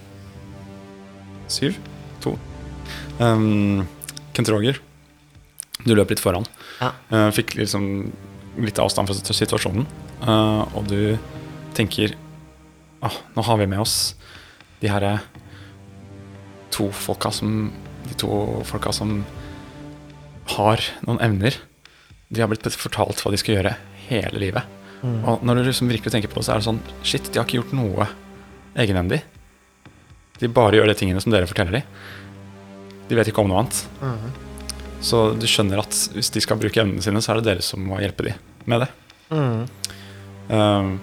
S4: Syv? To. Um, Kent Roger, du løp litt foran.
S6: Ja.
S4: Eh, fikk liksom litt avstand fra situ- situasjonen. Eh, og du tenker ah, Nå har vi med oss de her eh, to folka som De to folka som har noen evner. De har blitt fortalt hva de skal gjøre hele livet. Og når du liksom virkelig tenker på det, så er det sånn Shit, de har ikke gjort noe egenhendig. De bare gjør de tingene som dere forteller dem. De vet ikke om noe annet. Så du skjønner at hvis de skal bruke evnene sine, så er det dere som må hjelpe dem med det. Um,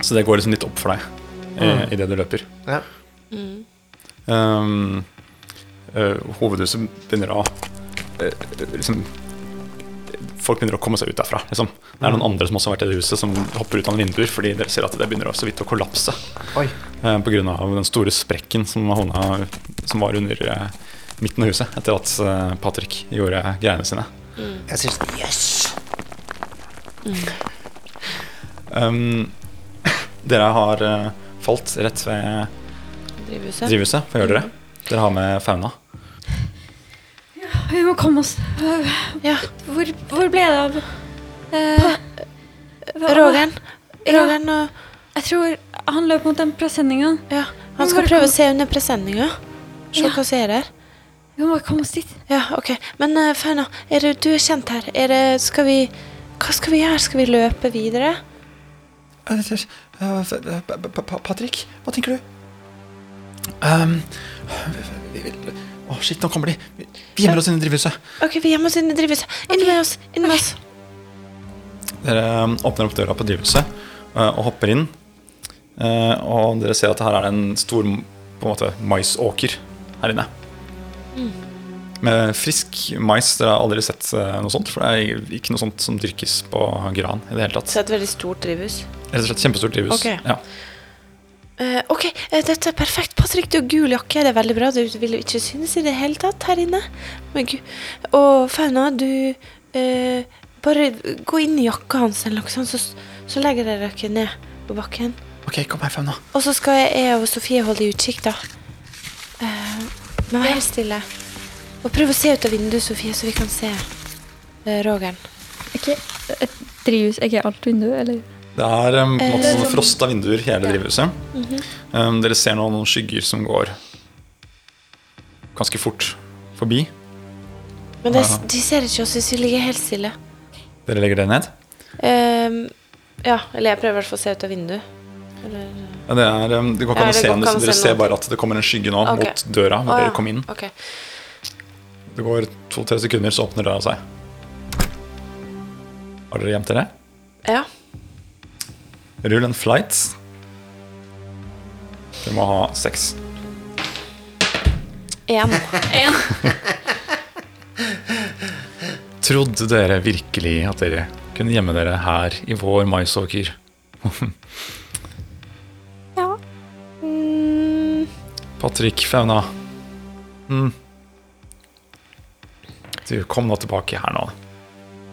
S4: så det går liksom litt opp for deg eh, i det du løper.
S6: Ja.
S4: Um, eh, hovedhuset begynner å eh, liksom, Folk begynner å komme seg ut derfra. Liksom. Det er noen andre som også har vært i det huset, som hopper ut av vinduer fordi dere ser at det begynner å så vidt å kollapse.
S6: Oi.
S4: Eh, på grunn av den store sprekken som, havna, som var under eh, midten av huset etter at eh, Patrick gjorde greiene sine.
S6: Jeg sier sånn Yes!
S4: Um, dere har eh, falt rett ved
S3: Drivhuset.
S4: drivhuset. Hva gjør dere? Dere har med fauna.
S5: Vi må komme oss Øh,
S3: Ja.
S5: Hvor, hvor ble det av eh, hva-
S3: Rogeren.
S5: Ja.
S3: Rogeren og
S5: Jeg tror han løp mot den presenninga.
S3: Ja.
S5: Men
S3: Han skal
S5: bare
S3: prøve
S5: kom-
S3: å se under presenninga. Se hva som er her.
S5: Vi må bare komme oss dit.
S3: Ja, ok. Men eh, Fauna, er det, du er kjent her. Er det, skal vi, hva skal vi gjøre? Skal vi løpe videre?
S4: Eh, Patrick, hva tenker du? Å, shit, nå kommer de. Vi gjemmer oss inne i drivhuset.
S3: Ok, vi gjemmer oss inn i drivhuset. Inn med oss. Inn med oss.
S4: Dere um, åpner opp døra på drivhuset eh, og hopper inn. Eh, Og dere ser at her er det en stor på en måte, maisåker her inne.
S3: Mm.
S4: Med frisk mais. Dere har aldri sett eh, noe sånt. For det er ikke noe sånt som dyrkes på gran i det hele tatt.
S3: Så et veldig stort drivhus.
S4: Rett og slett kjempestort drivhus.
S3: Ok.
S4: Ja.
S3: Eh, ok, eh, dette er perfekt. Patrick, du har gul jakke. Det er veldig bra. Du vil jo ikke synes i det hele tatt her inne. Men gu- Og Fauna, du eh, Bare gå inn i jakka hans, eller noe sånt, så, så legger dere dere ned på bakken.
S4: Ok, kom her, Fauna.
S3: Og så skal jeg, jeg og Sofie holde utkikk, da. Eh, men vær helt stille. Og prøv å se ut av vinduet, Sofie, så vi kan se eh, Rogeren.
S8: Ikke et drivhus, er ikke alt vindu, eller?
S4: Det er um, på en måte
S3: Eh, Mhm.
S4: sånn frosta vinduer i hele drivhuset. um, dere ser noen, noen skygger som går ganske fort forbi.
S3: Men det,
S4: Ja.
S3: de ser ikke oss hvis vi ligger helt stille.
S4: Dere legger det ned.
S3: Eh, ja, eller jeg prøver i hvert fall å se ut av vinduet. Eller
S4: Ja, det, er, um, det går ikke
S3: Ja,
S4: an å
S3: det
S4: se
S3: går
S4: den,
S3: ikke an å
S4: dere
S3: se
S4: ser
S3: noe.
S4: bare at det kommer en skygge nå
S3: Ok.
S4: mot døra hvor
S3: Å, ja.
S4: dere kom inn.
S3: Ok.
S4: Det går to-tre sekunder, så åpner døra seg. Har dere gjemt dere?
S3: Ja.
S4: Rull en flight. Dere må ha seks.
S3: Én.
S4: Trodde dere virkelig at dere kunne gjemme dere her i vår maisåker?
S5: Ja. Mm.
S4: Patrick Fauna. Mm. Du, kom nå tilbake her nå.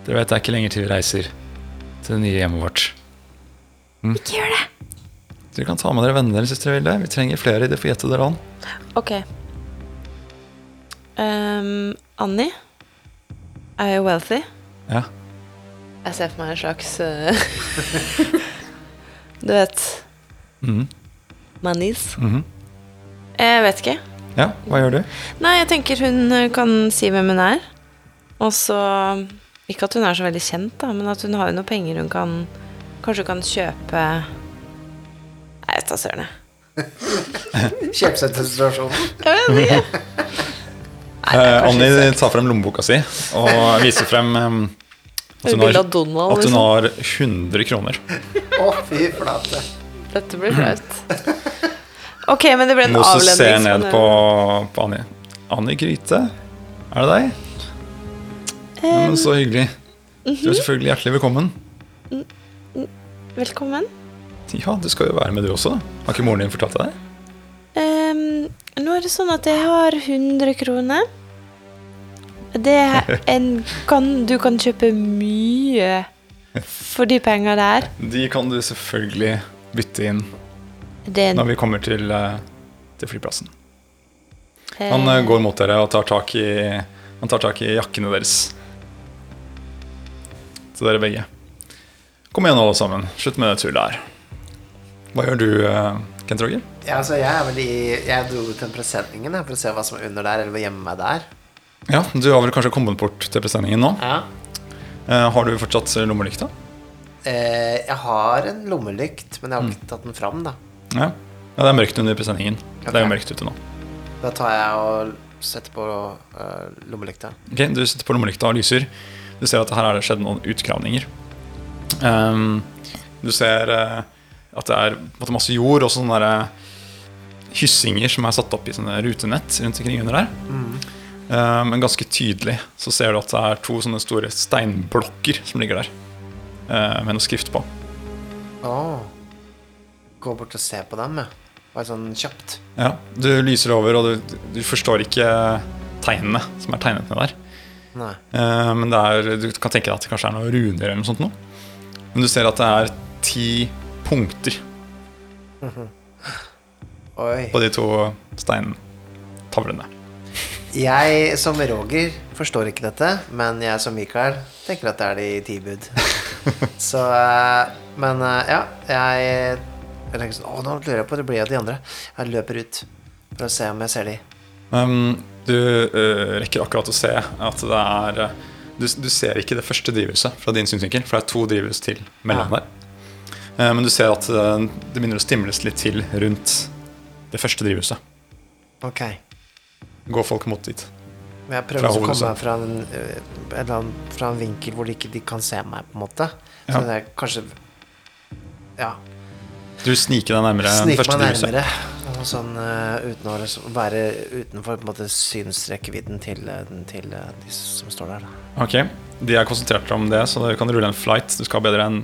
S4: Dere vet det er ikke lenger til vi reiser til det nye hjemmet vårt.
S5: Ikke gjør det.
S4: Dere kan ta med dere vennene deres hvis dere vil det. Vi trenger flere i det forjettede land.
S3: Ok. Ehm, Annie er jo wealthy.
S4: Ja.
S3: Jeg ser for meg en slags eh, Du vet
S4: Mhm.
S3: Manis.
S4: Mhm.
S3: Jeg vet ikke.
S4: ja, hva gjør du?
S3: Nei, jeg tenker hun eh, kan si hvem hun er. Og så Ikke at hun er så veldig kjent, da, men at hun har jo noe penger hun kan Kanskje hun kan kjøpe Nei, Jeg vet da søren, jeg.
S6: Kjøpsituasjonen.
S4: Eh, Annie tar frem lommeboka si og viser frem eh, at hun
S3: Bilde
S4: har,
S3: av Donald,
S4: at hun
S3: liksom.
S4: har 100 kroner.
S6: Å, fy flate.
S3: Dette blir flaut. Ok, men det ble en
S4: Moses ser
S3: avledningsmanøver.
S4: ned på, på Annie. Annie Gryte, er det deg? Ja, men så hyggelig. Du er selvfølgelig hjertelig velkommen.
S3: eh, Velkommen.
S4: Ja, du skal jo være med, du også. Har ikke moren din fortalt deg det?
S3: Ehm, nå er det sånn at jeg har 100 kroner. Det er en kan, Du kan kjøpe mye for de penga der.
S4: De kan du selvfølgelig bytte inn
S3: Det er en,
S4: når vi kommer til, eh, til flyplassen. Han eh, går mot dere og tar tak i, han tar tak i jakkene deres. Til dere begge. Kom igjen, alle sammen. Slutt med det tullet her. Hva gjør du, eh, Kent Roger?
S6: Ja, altså, jeg er vel i Jeg dro til presenningen jeg, for å se hva som er under der, eller vil gjemme meg der.
S4: Ja, Du har vel kanskje kommet bort til presenningen nå?
S6: Ja.
S4: Eh, har du fortsatt lommelykta?
S6: Eh, jeg har en lommelykt, men jeg har ikke tatt den fram, da.
S4: Ja. ja, det er mørkt under presenningen. Det er
S6: Ok.
S4: jo mørkt ute nå.
S6: Da tar jeg og setter på eh, lommelykta.
S4: Ok, Du sitter på lommelykta og lyser. Du ser at her har det skjedd noen utgravninger. Ehm, du ser eh, at det er på en måte, masse jord og sånne der, eh, hyssinger som er satt opp i sånne rutenett rundt omkring under der. Ehm, men ganske tydelig så ser du at det er to sånne store steinblokker som ligger der. eh, med noe skrift på.
S6: Åh Gå bort og se på dem, ja. Bare sånn kjapt.
S4: Ja, Du lyser over, og du, du forstår ikke tegnene som er tegnet ned der.
S6: Nei.
S4: Eh, Men det er, du kan tenke deg at det kanskje er noen runer eller noe sånt nå. Men du ser at det er ti punkter
S6: Oi.
S4: på de to steintavlene.
S6: Jeg som Roger forstår ikke dette, men jeg som Mikael tenker at det er de ti bud. Så eh, Men eh, ja, jeg, jeg tenker sånn Å, nå lurer jeg på det blir av de andre. Jeg løper ut for å se om jeg ser de.
S4: Um, Du øh, rekker akkurat å se at det er øh, du, du ser ikke det første drivhuset fra din synsvinkel, for det er to drivhus til mellom der. Eh, men du ser at øh, det begynner å stimles litt til rundt det første drivhuset.
S6: Ok.
S4: Går folk mot dit.
S6: Men jeg prøver
S4: Fra
S6: også å komme
S4: hovedhuset.
S6: meg fra en, eh, en eller annen, fra en vinkel hvor de ikke de kan se meg, på en måte. Så
S4: Ja.
S6: det er kanskje Ja.
S4: Du sniker deg nærmere det
S6: Snike
S4: første
S6: meg
S4: drivhuset.
S6: nærmere. Og sånn eh, uten å liksom være utenfor på en måte synsrekkevidden til, eh, den- til eh, de som står der. da.
S4: Ok, De er konsentrert om det, så du kan rulle en flight. Du skal ha bedre enn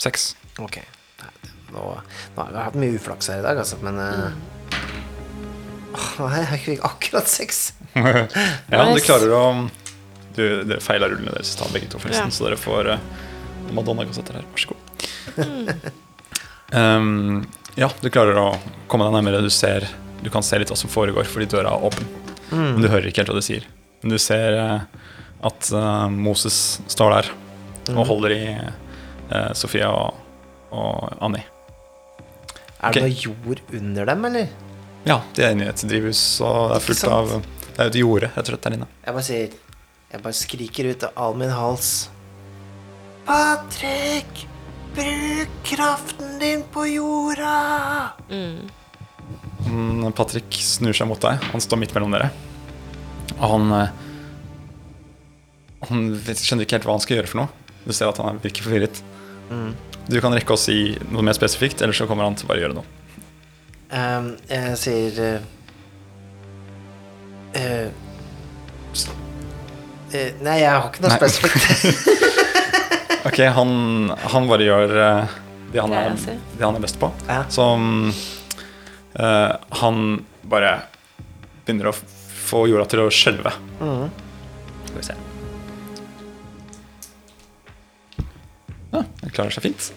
S4: seks.
S6: Ok. Nei, Nå, nå har vi hatt mye uflaks her i dag, altså, men
S4: Mm.
S6: eh, åh, Nei, jeg fikk akkurat seks.
S4: Ja, du
S3: Nice.
S4: klarer å du, Dere feila rullene deres i stad, begge to, forresten.
S3: Ja.
S4: Så dere får eh, Madonna-kassetter her. Vær så god.
S3: Mm.
S4: Um, ja, du klarer å komme deg nærmere. Du ser Du kan se litt hva som foregår, fordi døra er åpen. Men du hører ikke helt hva de sier. Men du ser eh, at eh, Moses står der og holder i eh, Sofia og, og Annie.
S6: Er
S4: Ok.
S6: det noe jord under dem, eller?
S4: Ja, de er inne i et drivhus, og det er fullt av Det er et jorde, rett og slett, der inne.
S6: Jeg bare sier Jeg bare skriker ut av all min hals. Patrick! Bruk kraften din på jorda!
S4: Mm, Patrick snur seg mot deg. Han står midt mellom dere. Og han eh, Han vet, skjønner ikke helt hva han skal gjøre for noe. Du ser at han virker forvirret. Du kan rekke å si noe mer spesifikt, eller så kommer han til å bare gjøre noe.
S6: Ehm, jeg sier eh, eh, s- eh, Nei, jeg har ikke noe
S4: Nei.
S6: spesifikt.
S4: Ok, Han, han bare gjør eh, det, han
S3: Det
S4: er,
S3: jeg sier.
S4: det han er best på.
S6: Ja.
S4: Så mm, eh, han bare begynner å f- få jorda til å skjelve. Skal vi se. Ja, den Ah, klarer seg fint.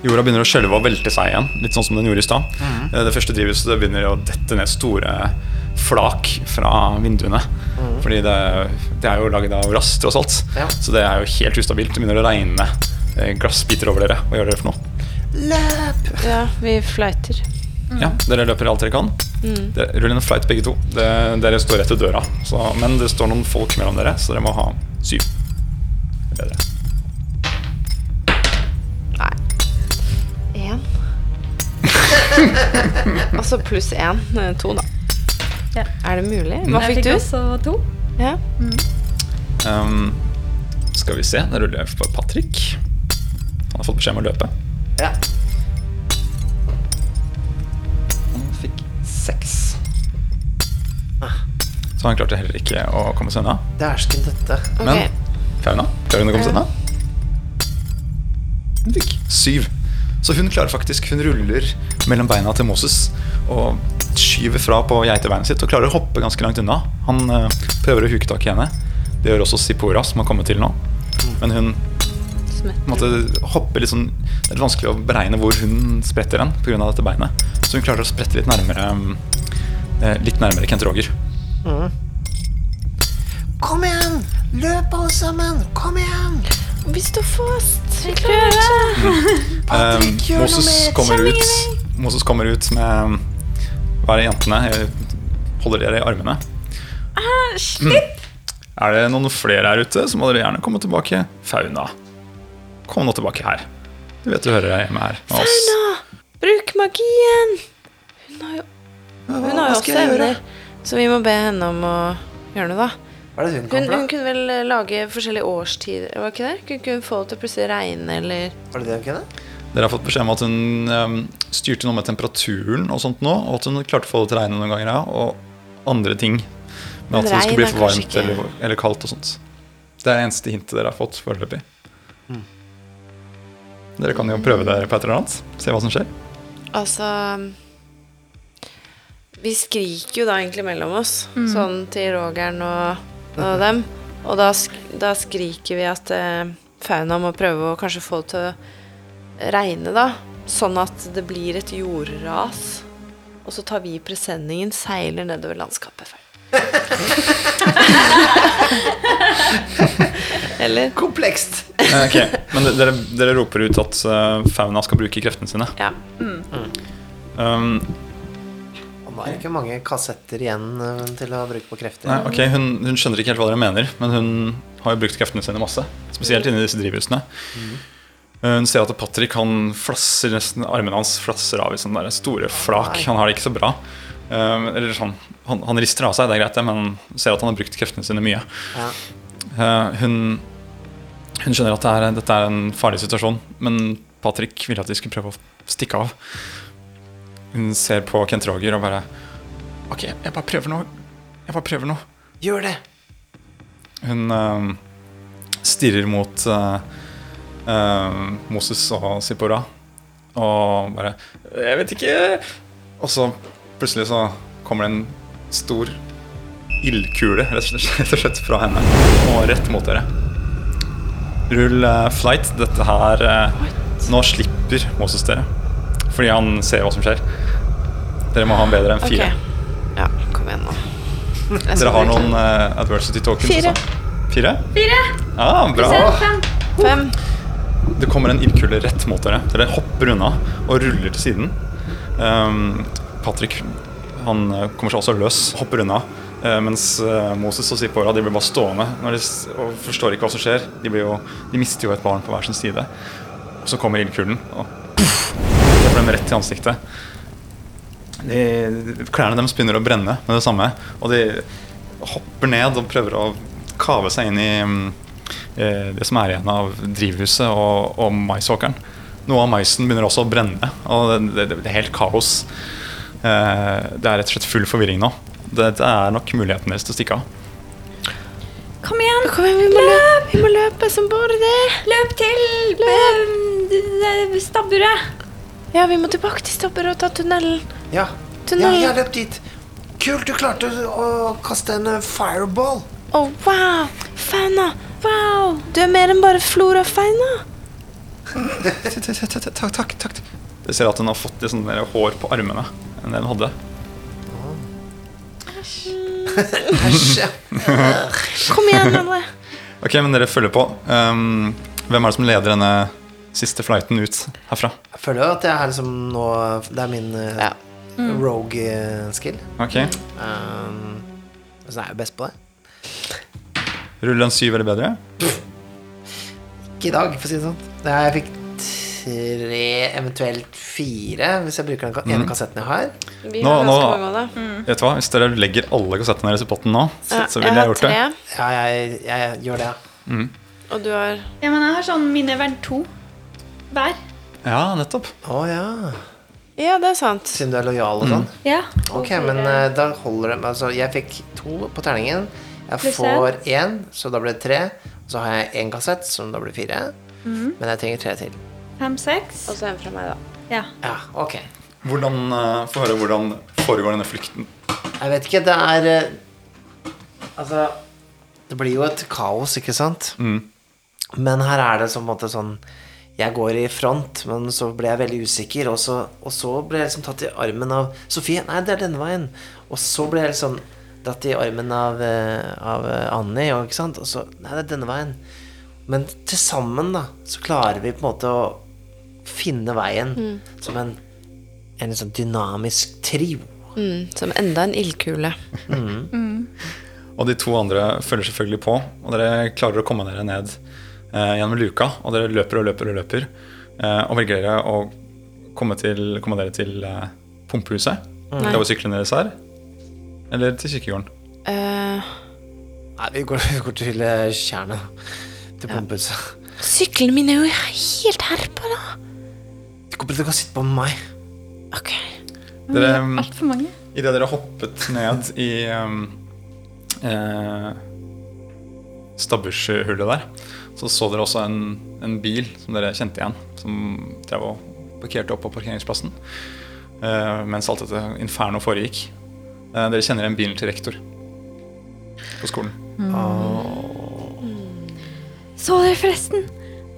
S4: Jorda begynner å skjelve og velte seg igjen, litt sånn som den gjorde i stad. Eh, Det første drivhuset det begynner å dette ned store flak fra vinduene. Fordi det, det er jo laget av rast, tross alt.
S6: Ja.
S4: Så det er jo helt ustabilt. Det begynner å regne eh, glassbiter over dere. Hva gjør dere for noe?
S6: Løp!
S3: Ja, vi flighter.
S4: Ja, dere løper alt dere kan. Dere ruller en flight, begge to. Det, dere står rett til døra. Så, men det står noen folk mellom dere, så dere må ha syv. Det er Bedre.
S3: Én. altså pluss én. eh, To, da.
S8: Ja.
S3: Er det mulig? Hva fikk du?
S8: Jeg fikk også to.
S3: Ja.
S4: Ehm, skal vi se. Da ruller jeg for Patrick. Han har fått beskjed om å løpe.
S6: Ja.
S4: Han fikk seks. Så han klarte heller ikke å komme seg unna.
S6: Dæsken døtte.
S3: Ok.
S4: Men Fauna klarer hun å komme seg unna. Hun fikk syv. Så hun klarer faktisk Hun ruller mellom beina til Moses og skyver fra på geitebeinet sitt og klarer å hoppe ganske langt unna. Han eh, prøver å huke tak i henne. Det gjør også Sipora, som har kommet til nå. Men hun på en måte, hopper litt sånn Det er litt vanskelig å beregne hvor hun spretter hen pga. dette beinet. Så hun klarer å sprette litt nærmere eh, Litt nærmere Kent Roger.
S6: Kom igjen! Løp, alle sammen! Kom igjen!
S3: Vi står fast. Vi klarer det.
S4: Um,
S6: Patrick, gjør noe
S4: Moses
S6: mer!
S4: kommer
S3: Kjell
S4: ut Moses kommer ut med Hva er det jentene eh, holder dere i armene? Er det noen flere her ute, så må dere gjerne komme tilbake. Fauna, kom nå tilbake her. Du vet du hører deg hjemme her med oss.
S3: Fauna, bruk magien. Hun har jo, hun har jo også evner, så vi må be henne om å gjøre noe, da.
S6: Hva er det hun kom
S3: Hun, hun
S6: fra?
S3: kunne vel eh, lage forskjellige årstider, var ikke det? Kunne ikke hun få det til å plutselig regne, eller
S6: Var det det hun kunne?
S4: Dere har fått beskjed om at hun eh, styrte noe med temperaturen og sånt nå, og at hun klarte å få det til å regne noen ganger, ja, og andre ting.
S3: Men
S4: Men at det
S3: regn
S4: skulle bli
S3: er
S4: for varmt
S3: kanskje ikke-
S4: eller, eller kaldt og sånt. Det er det eneste hintet dere har fått foreløpig. Dere kan jo prøve dere på et eller annet. Se hva som skjer.
S3: Altså Vi skriker jo da egentlig mellom oss, sånn til Rogern og, og dem. Og da, sk da skriker vi at eh, fauna må prøve å kanskje få det til å regne, da. Sånn at det blir et jordras. Og så tar vi presenningen, seiler nedover landskapet. Eller?
S6: Komplekst!
S4: Eh, ok, Men de- dere, dere roper ut at
S3: Mm.
S4: eh, fauna skal bruke kreftene sine.
S3: Ja.
S4: Um,
S6: Å var ikke mange kassetter igjen eh, til å bruke på krefter.
S4: Nei, ok, hun, hun skjønner ikke helt hva dere mener, men hun har jo brukt kreftene sine masse. Spesielt inne i disse drivhusene. Hun ser at Patrick han flasser nesten armene hans flasser av i sånne der store flak.
S6: Nei.
S4: Han har det ikke så bra. Um, eller sånn, han, han rister av seg, det er greit, det, men ser at han har brukt kreftene sine mye.
S6: Ja.
S4: Eh, hun, hun skjønner at det er, dette er en farlig situasjon, men Patrick ville at de skulle prøve å stikke av. Hun ser på Kent Roger og bare OK, jeg bare prøver noe. Jeg bare prøver noe.
S6: Gjør det!
S4: Hun eh, stirrer mot eh, eh, Moses og Zippora og bare Jeg vet ikke Og så plutselig så kommer det en stor ildkule rett og slett- rett og slett fra henne og rett mot dere. Rull eh, flight. Dette her eh, Nå slipper Moses dere. Fordi han ser hva som skjer. Dere må ha en bedre enn
S3: Ok.
S4: fire.
S3: Ja, kom igjen nå. Jeg skal
S4: Dere har
S3: bruke
S4: noen eh, adversity tokens
S3: Fire.
S4: også. Fire? Fire. Ah, bra.
S3: Fem.
S4: Det kommer en ildkule rett mot dere. Dere hopper unna og ruller til siden. Ehm, Patrick han eh, kommer seg også løs, hopper unna. eh, mens eh, Moses og Zippora de blir bare stående når de s og forstår ikke hva som skjer. De, blir jo, de mister jo et barn på hver sin side. Og så kommer ildkulen og puff, treffer dem rett i ansiktet. De, klærne deres begynner å brenne med det samme. Og de hopper ned og prøver å kave seg inn i mm, eh, det som er igjen av drivhuset og, og maisåkeren. Noe av maisen begynner også å brenne, og det, det, det er helt kaos. Eh, Det er rett og slett full forvirring nå. Dette er nok muligheten deres til å stikke av.
S5: Kom igjen!
S3: Kom igjen, vi må løpe, vi må løpe som bare det.
S5: Løp til eh, stabburet!
S3: Ja, vi må tilbake til Stabber og ta tunnelen.
S6: Ja. ja,
S3: Tunnel.
S6: jeg løp dit. Kult, du klarte å kaste en eh, fireball.
S3: Å, wow! Fauna! Wow! Du er mer enn bare flora og fauna.
S4: Takk, takk, takk. Du ser at hun har fått litt sånn mer hår på armene enn det hun hadde.
S6: Æsj. ja.
S3: Kom igjen, alle.
S4: Ok, men dere følger på. Um, hvem er det som leder denne siste flighten ut herfra?
S6: Jeg føler jo at jeg er liksom nå Det er min eh,
S3: Ja.
S6: rogue eh, skill.
S4: Ok,
S6: Um, så er jeg best på det.
S4: Ruller en syv eller bedre?
S6: Ikke i dag, for å si det sånn. Det er, jeg fikk tre, eventuelt fire, hvis jeg bruker den ka- ene kassetten jeg har.
S3: Vi
S4: Nå-
S3: har ganske
S4: nå-
S3: mange også, da.
S4: Vet du hva, Hvis dere legger alle kassettene deres i potten nå, så,
S3: Ja,
S4: så ville jeg gjort det.
S3: har
S6: Ja, jeg, jeg gjør det, ja.
S3: tre, og du har
S5: Ja, men jeg har sånn mine verd to hver.
S4: Ja, nettopp.
S6: Å ja.
S3: Ja, det er sant.
S6: Siden du er lojal og sånn.
S5: Ja.
S6: Ok, men eh, da holder det Altså, jeg fikk to på terningen. Jeg
S5: Pluss
S6: får én, så da blir det tre. Så har jeg én kassett, som da blir fire. Men jeg trenger tre til.
S5: Fem, seks.
S3: Og så en fra meg, da.
S5: Ja.
S6: Ja, ok.
S4: Hvordan, eh, Få høre hvordan foregår denne flukten.
S6: Jeg vet ikke, det er eh, Altså Det blir jo et kaos, ikke sant? Men her er det som på en måte sånn Jeg går i front, men så ble jeg veldig usikker. Og så, og så ble jeg liksom tatt i armen av Sofie. Nei, det er denne veien. Og så ble jeg liksom dratt i armen av, eh, av eh, Annie, og, ikke sant? Og så Nei, det er denne veien. Men til sammen, da, så klarer vi på en måte å finne veien som en, en sånn dynamisk trio.
S3: Mm, som enda en ildkule.
S4: Og de to andre følger selvfølgelig på, og dere klarer å komme dere ned eh, gjennom luka. Og dere løper og løper og løper, eh, og velger dere å komme, til, komme dere til eh, pumpehuset. Der hvor syklene deres er. Eller til kirkegården.
S3: Eh,
S6: Nei, vi går, vi går til eh, tjernet. Til pumpehuset.
S3: syklene mine er jo helt herpa, da.
S6: Du kommer til å sitte på meg.
S3: Ok.
S4: Mm. Dere,
S5: Altfor mange.
S4: Idet dere hoppet ned i um, eh, stabburshullet der, så så dere også en, en bil som dere kjente igjen, som drev og parkerte opp på parkeringsplassen eh, mens alt dette inferno foregikk. Eh, dere kjenner igjen bilen til rektor på skolen.
S5: Så dere forresten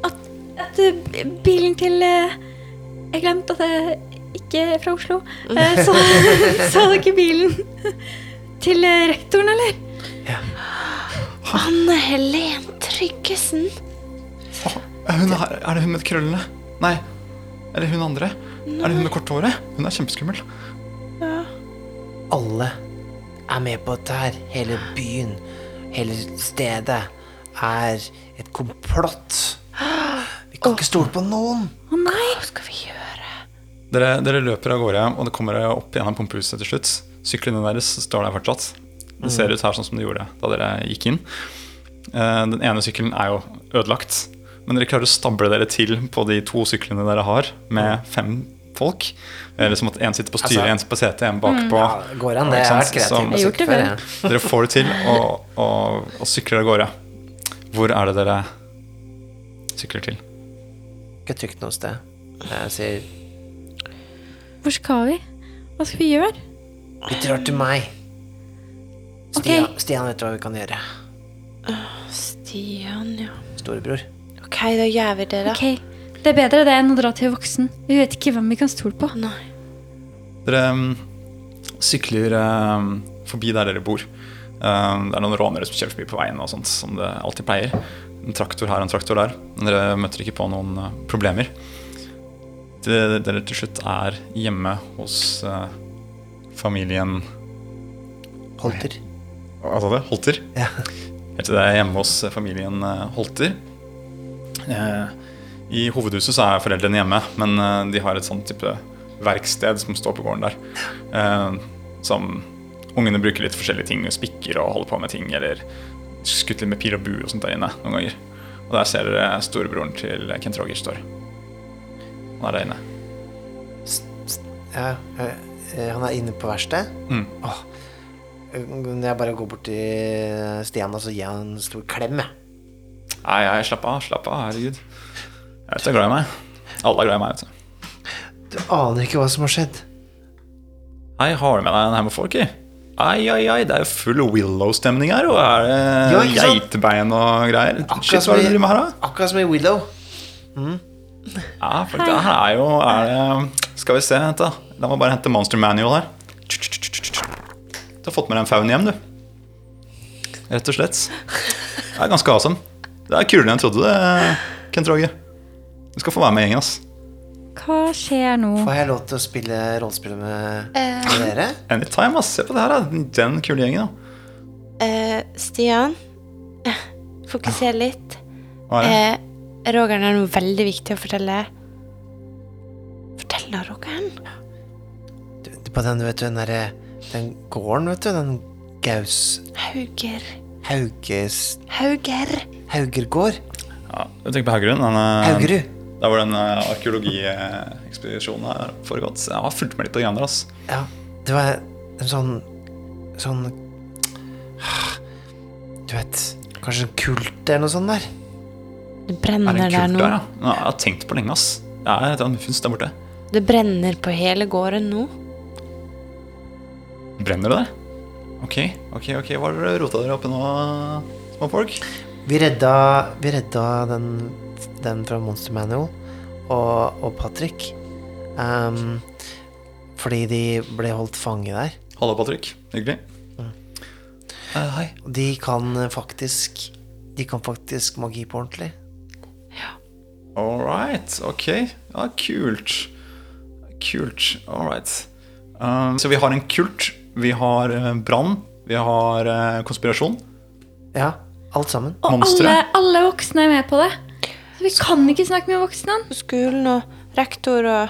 S5: at, at eh, bilen til eh, Jeg glemte at jeg ikke er fra Oslo. Eh, Så, så dere bilen til eh, rektoren, eller?
S4: Ah.
S3: Anne Helen Tryggesen.
S4: Er, Eh, hun her, er det hun med krøllene? Nei. Er det hun andre? Er det hun med korthåret? Hun er kjempeskummel.
S3: Ja.
S6: alle er med på dette her. Hele byen, hele stedet er et komplott. Vi kan ikke stole på noen.
S5: Å nei!
S3: Hva skal vi gjøre?
S4: Dere, dere løper av gårde, og det kommer dere opp gjennom pumpehuset til slutt. Syklene deres står der fortsatt. Det ser ut her sånn som det gjorde da dere gikk inn. Eh, Den ene sykkelen er jo ødelagt, men dere klarer å stable dere til på de to syklene dere har, med fem folk. Eller som at én sitter på styret, én sitter på setet, én bakpå.
S6: Ja, det går an, det. Jeg har vært
S4: Ikke sant?
S6: kreativ. med
S4: Som-
S6: musikk før, jeg.
S4: Dere får det til og, og, og sykler av gårde. Hvor er det dere sykler til?
S6: Ikke trygt noe sted. Jeg sier
S5: Hvor skal vi? Hva skal vi gjøre?
S6: Vi drar til meg.
S5: Ok.
S6: Stian, Stian vet du hva vi kan gjøre.
S3: Stian, ja.
S6: Storebror.
S3: OK, da gjør vi det, da.
S5: Ok, Det er bedre det enn å dra til voksen. Vi vet ikke hvem vi kan stole på.
S3: Nei.
S4: Dere mm, sykler eh, forbi der dere bor. Eh, det er noen rånere som kjører forbi på veien, og sånt, som det alltid pleier. En traktor her og en traktor der. Men dere møter ikke på noen eh, problemer. Dere, dere til slutt er hjemme hos eh, familien
S6: Holter.
S4: Hva sa du? Holter?
S6: Ja.
S4: Heter det hjemme hos familien eh, Holter. Eh, I hovedhuset så er foreldrene hjemme, men eh, de har et sånt type verksted som står på gården der. Eh, som ungene bruker litt forskjellige ting, spikker og holder på med ting, eller skutt litt med pil og bue og sånt der inne noen ganger. Og der ser dere storebroren til Kent Roger står. Han er der inne.
S6: Ja, eh, eh, han er inne på verkstedet.
S4: Mm.
S6: Åh. Eh, Jeg bare går bort til Stian og så gir jeg han en stor klem. jeg.
S4: Nei, nei, slapp av, slapp av, herregud. Jeg vet du er glad i meg. Alle er glad i meg, altså. vet du.
S6: Du aner ikke hva som har skjedd.
S4: Hei, har du med deg en haug med folk, i? Ai, ai, ai, det er jo full Willow-stemning her, og er det
S6: Ja, ikke sant?
S4: geitebein og greier.
S6: Akkurat
S4: Shit, hva
S6: som
S4: er det
S6: i-
S4: du driver med her, da?
S6: Akkurat som i Willow. Ah,
S4: Ja, for det her er jo er det, Skal vi se, vent da. La meg bare hente Monster Manual her. Du har fått med deg en faun hjem, du. Rett og slett. Det er ganske awesome. Det er kulere enn jeg trodde, det, Kent Roge. Du skal få være med i gjengen, ass.
S5: Hva skjer nå?
S6: Får jeg lov til å spille rollespill med
S3: Eh,
S6: med dere?
S4: Anytime, ass. Se på det her, da. Den kule gjengen, da.
S3: Eh, Stian, eh, fokuser litt.
S4: Hva er det?
S3: Eh, Rogeren er noe veldig viktig å fortelle. Fortell da, Rogeren.
S6: Du, du, på den, vet du, den, derre- den gården, vet du. Den Gaus
S3: Hauger.
S6: Hauges
S3: Hauger.
S6: Haugergård?
S4: Ja, du tenker på Haugerud? Den, eh,
S6: Haugerud?
S4: Der hvor den eh, arkeologiekspedisjonen har foregått. Så Jeg har fulgt med litt på greiene der, ass.
S6: Ja, det var en sånn Sånn Du vet, kanskje en kult eller noe sånt der?
S3: Det
S4: Er det
S3: brenner
S4: en
S3: Mm, der
S4: kult
S3: nå.
S4: der, ja? ja? Jeg har tenkt på lenge, ass. Det er et eller annet muffins der borte.
S3: Det brenner på hele gården nå.
S4: Brenner det der? Ok, ok, ok. Hva har dere rota dere oppi nå, småfolk?
S6: Vi redda, vi redda den, den fra Monster Manual og, og Patrick. Ehm, fordi de ble holdt fange der.
S4: Hallo, Patrick. Hyggelig. Eh, hei.
S6: Og de kan faktisk De kan faktisk magi på ordentlig.
S4: All right, ok. Ja, kult. Kult. All right. Eh, så vi har en kult, vi har eh, brann, vi har eh, konspirasjon.
S6: Ja, alt sammen.
S5: Og
S4: Monstre?
S5: alle, alle voksne er med på det. Så vi kan ikke snakke med voksne.
S3: På skolen og rektor og,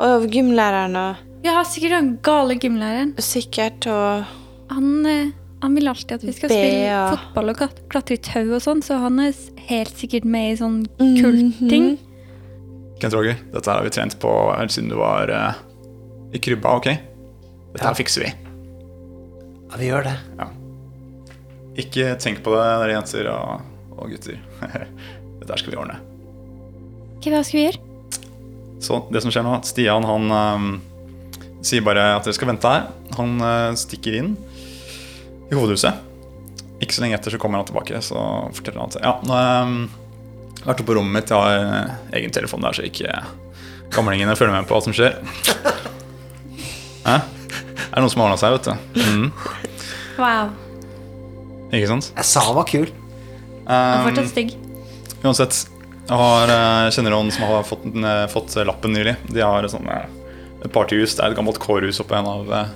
S3: og gymlæreren og
S5: Vi har sikkert den gale gymlæreren.
S3: sikkert og
S5: Han, eh, han vil alltid at vi skal spille
S3: Bea.
S5: fotball og kat- klatre i tau og sånn, så han er s- helt sikkert med i sånn kulting.
S4: Kent Roger, dette her har vi trent på helt siden du var eh, i krybba, ok? Dette her fikser vi.
S6: Ja, vi gjør det.
S4: Ikke tenk på det, dere jenter og, og gutter. dette her skal vi ordne.
S5: Ok, Hva skal vi gjøre?
S4: Så det som skjer nå, at Stian han eh, sier bare at dere skal vente her. Han eh, stikker inn i hovedhuset. Ikke så lenge etter så kommer han tilbake, så forteller han at ja, nå har jeg eh, vært oppe på rommet mitt, jeg har eh, egen telefon der, så ikke gamlingene følger med på hva som skjer. Hæ? Er det noen som har ordna seg, vet du. Mhm.
S5: Wow.
S4: Ikke sant? Ehm,
S6: Jeg sa han var kul.
S3: Um,
S5: Han er fortsatt stygg.
S4: Uansett, jeg har, eh, kjenner noen som har fått, den, eh, fått lappen nylig. De har et sånt eh, et partyhus. Det er et gammelt kårhus oppe i en av eh,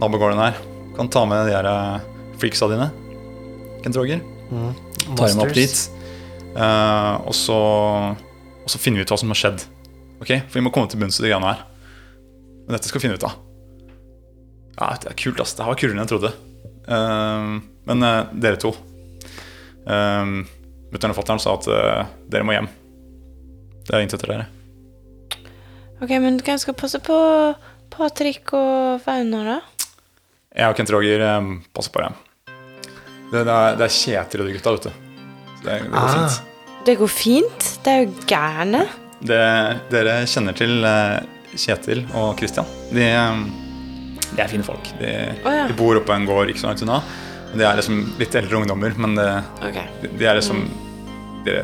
S4: nabogården her. Kan ta med de her eh, freaksa dine, Kent Roger. Tar dem opp dit. Eh, og, så, og så finner vi ut hva som har skjedd. Ok? For vi må komme til bunns i de greiene her. Men dette skal vi finne ut av. Ja, det er kult, ass. Det her var kulere enn jeg trodde. Eh, men eh, dere to uh, Mutter'n og fatter'n sa at eh, dere må hjem. Det er intet etter dere.
S3: Ok, men hvem skal passe på Patrick og Fauna, da?
S4: Jeg og Kent Roger eh, passer på dem. Det, det, er, det er Kjetil og de gutta, vet du. Så Det, det går
S6: Ah.
S4: fint.
S3: Det går fint. Det er jo gærne.
S4: Det, dere kjenner til eh, Kjetil og Christian. De, eh, de er fine folk. De,
S3: Å ja.
S4: de bor oppe på en gård ikke så langt unna. De er liksom litt eldre ungdommer, men det,
S3: Ok.
S4: de er liksom de,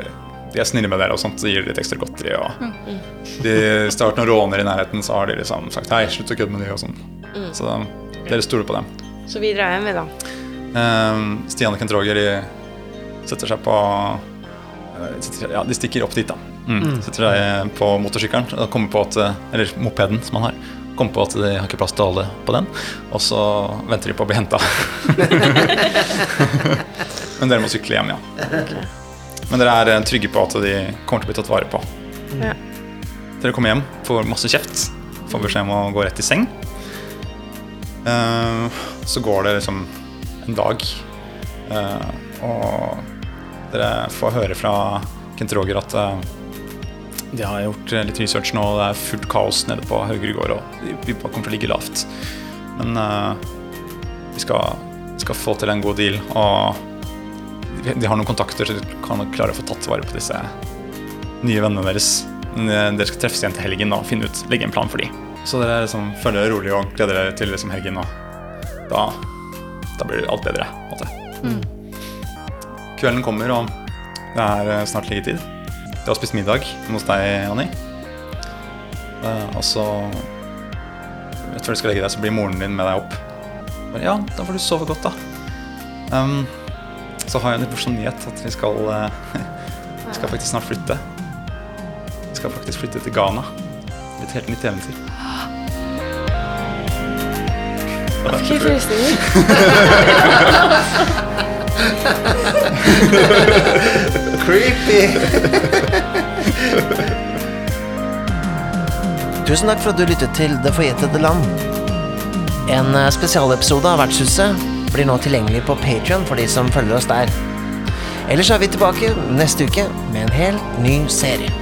S4: de er snille med dere og sånt, så gir de litt ekstra godteri.
S3: Mm,
S4: Og de starter noen råner i nærheten, så har de liksom sagt 'hei, slutt å kødde med de' og sånn.
S3: Mm.
S4: Så eh, dere stoler på dem.
S3: Så vi drar hjem, vi, da.
S4: Um, Stian og Kent Roger de setter seg på eh, setter, seg- Ja, de stikker opp dit, da. Mm. Setter seg på motorsykkelen, og kommer på at, eh, eller mopeden som han har. Kommer på at de har ikke plass til alle på den, og så venter de på å bli henta. Men dere må sykle hjem, ja. Men dere er eh, trygge på at de kommer til å bli tatt vare på.
S3: Ja.
S4: Dere kommer hjem, får masse kjeft, får beskjed om å gå rett i seng. Eh, så går det liksom en dag. Eh, og dere får høre fra Kent Roger at eh, de har gjort eh, litt research nå, og det er fullt kaos nede på Haugerud gård, og de- vi bare kommer til å ligge lavt. Men eh, vi skal, skal få til en god deal, og de- de har noen kontakter, så de kan nok klare å få tatt vare på disse nye vennene deres. Men, eh, Dere skal treffes igjen til helgen da, og finne ut, legge en plan for dem. Så dere liksom, følger dere rolig og gleder dere til liksom, helgen. Og da da blir det alt bedre. på en Måte. Kvelden kommer, og det er eh, snart liggetid. Du har spist middag hjemme hos deg, Anni. Eh, Og så Rett før du skal legge deg, så blir moren din med deg opp. Bare, Ja, da får du sove godt, da. Ehm, så har jeg en litt morsom nyhet at vi skal eh, Vi skal faktisk snart flytte. Vi skal faktisk flytte til Ghana. Et helt nytt eventyr.
S3: Fikk jeg frysninger?
S6: Creepy! Tusen takk for at du lyttet til Det forjettede land. En eh, spesialepisode av Vertshuset blir nå tilgjengelig på Patreon for de som følger oss der. Ellers er vi tilbake neste uke med en helt ny serie.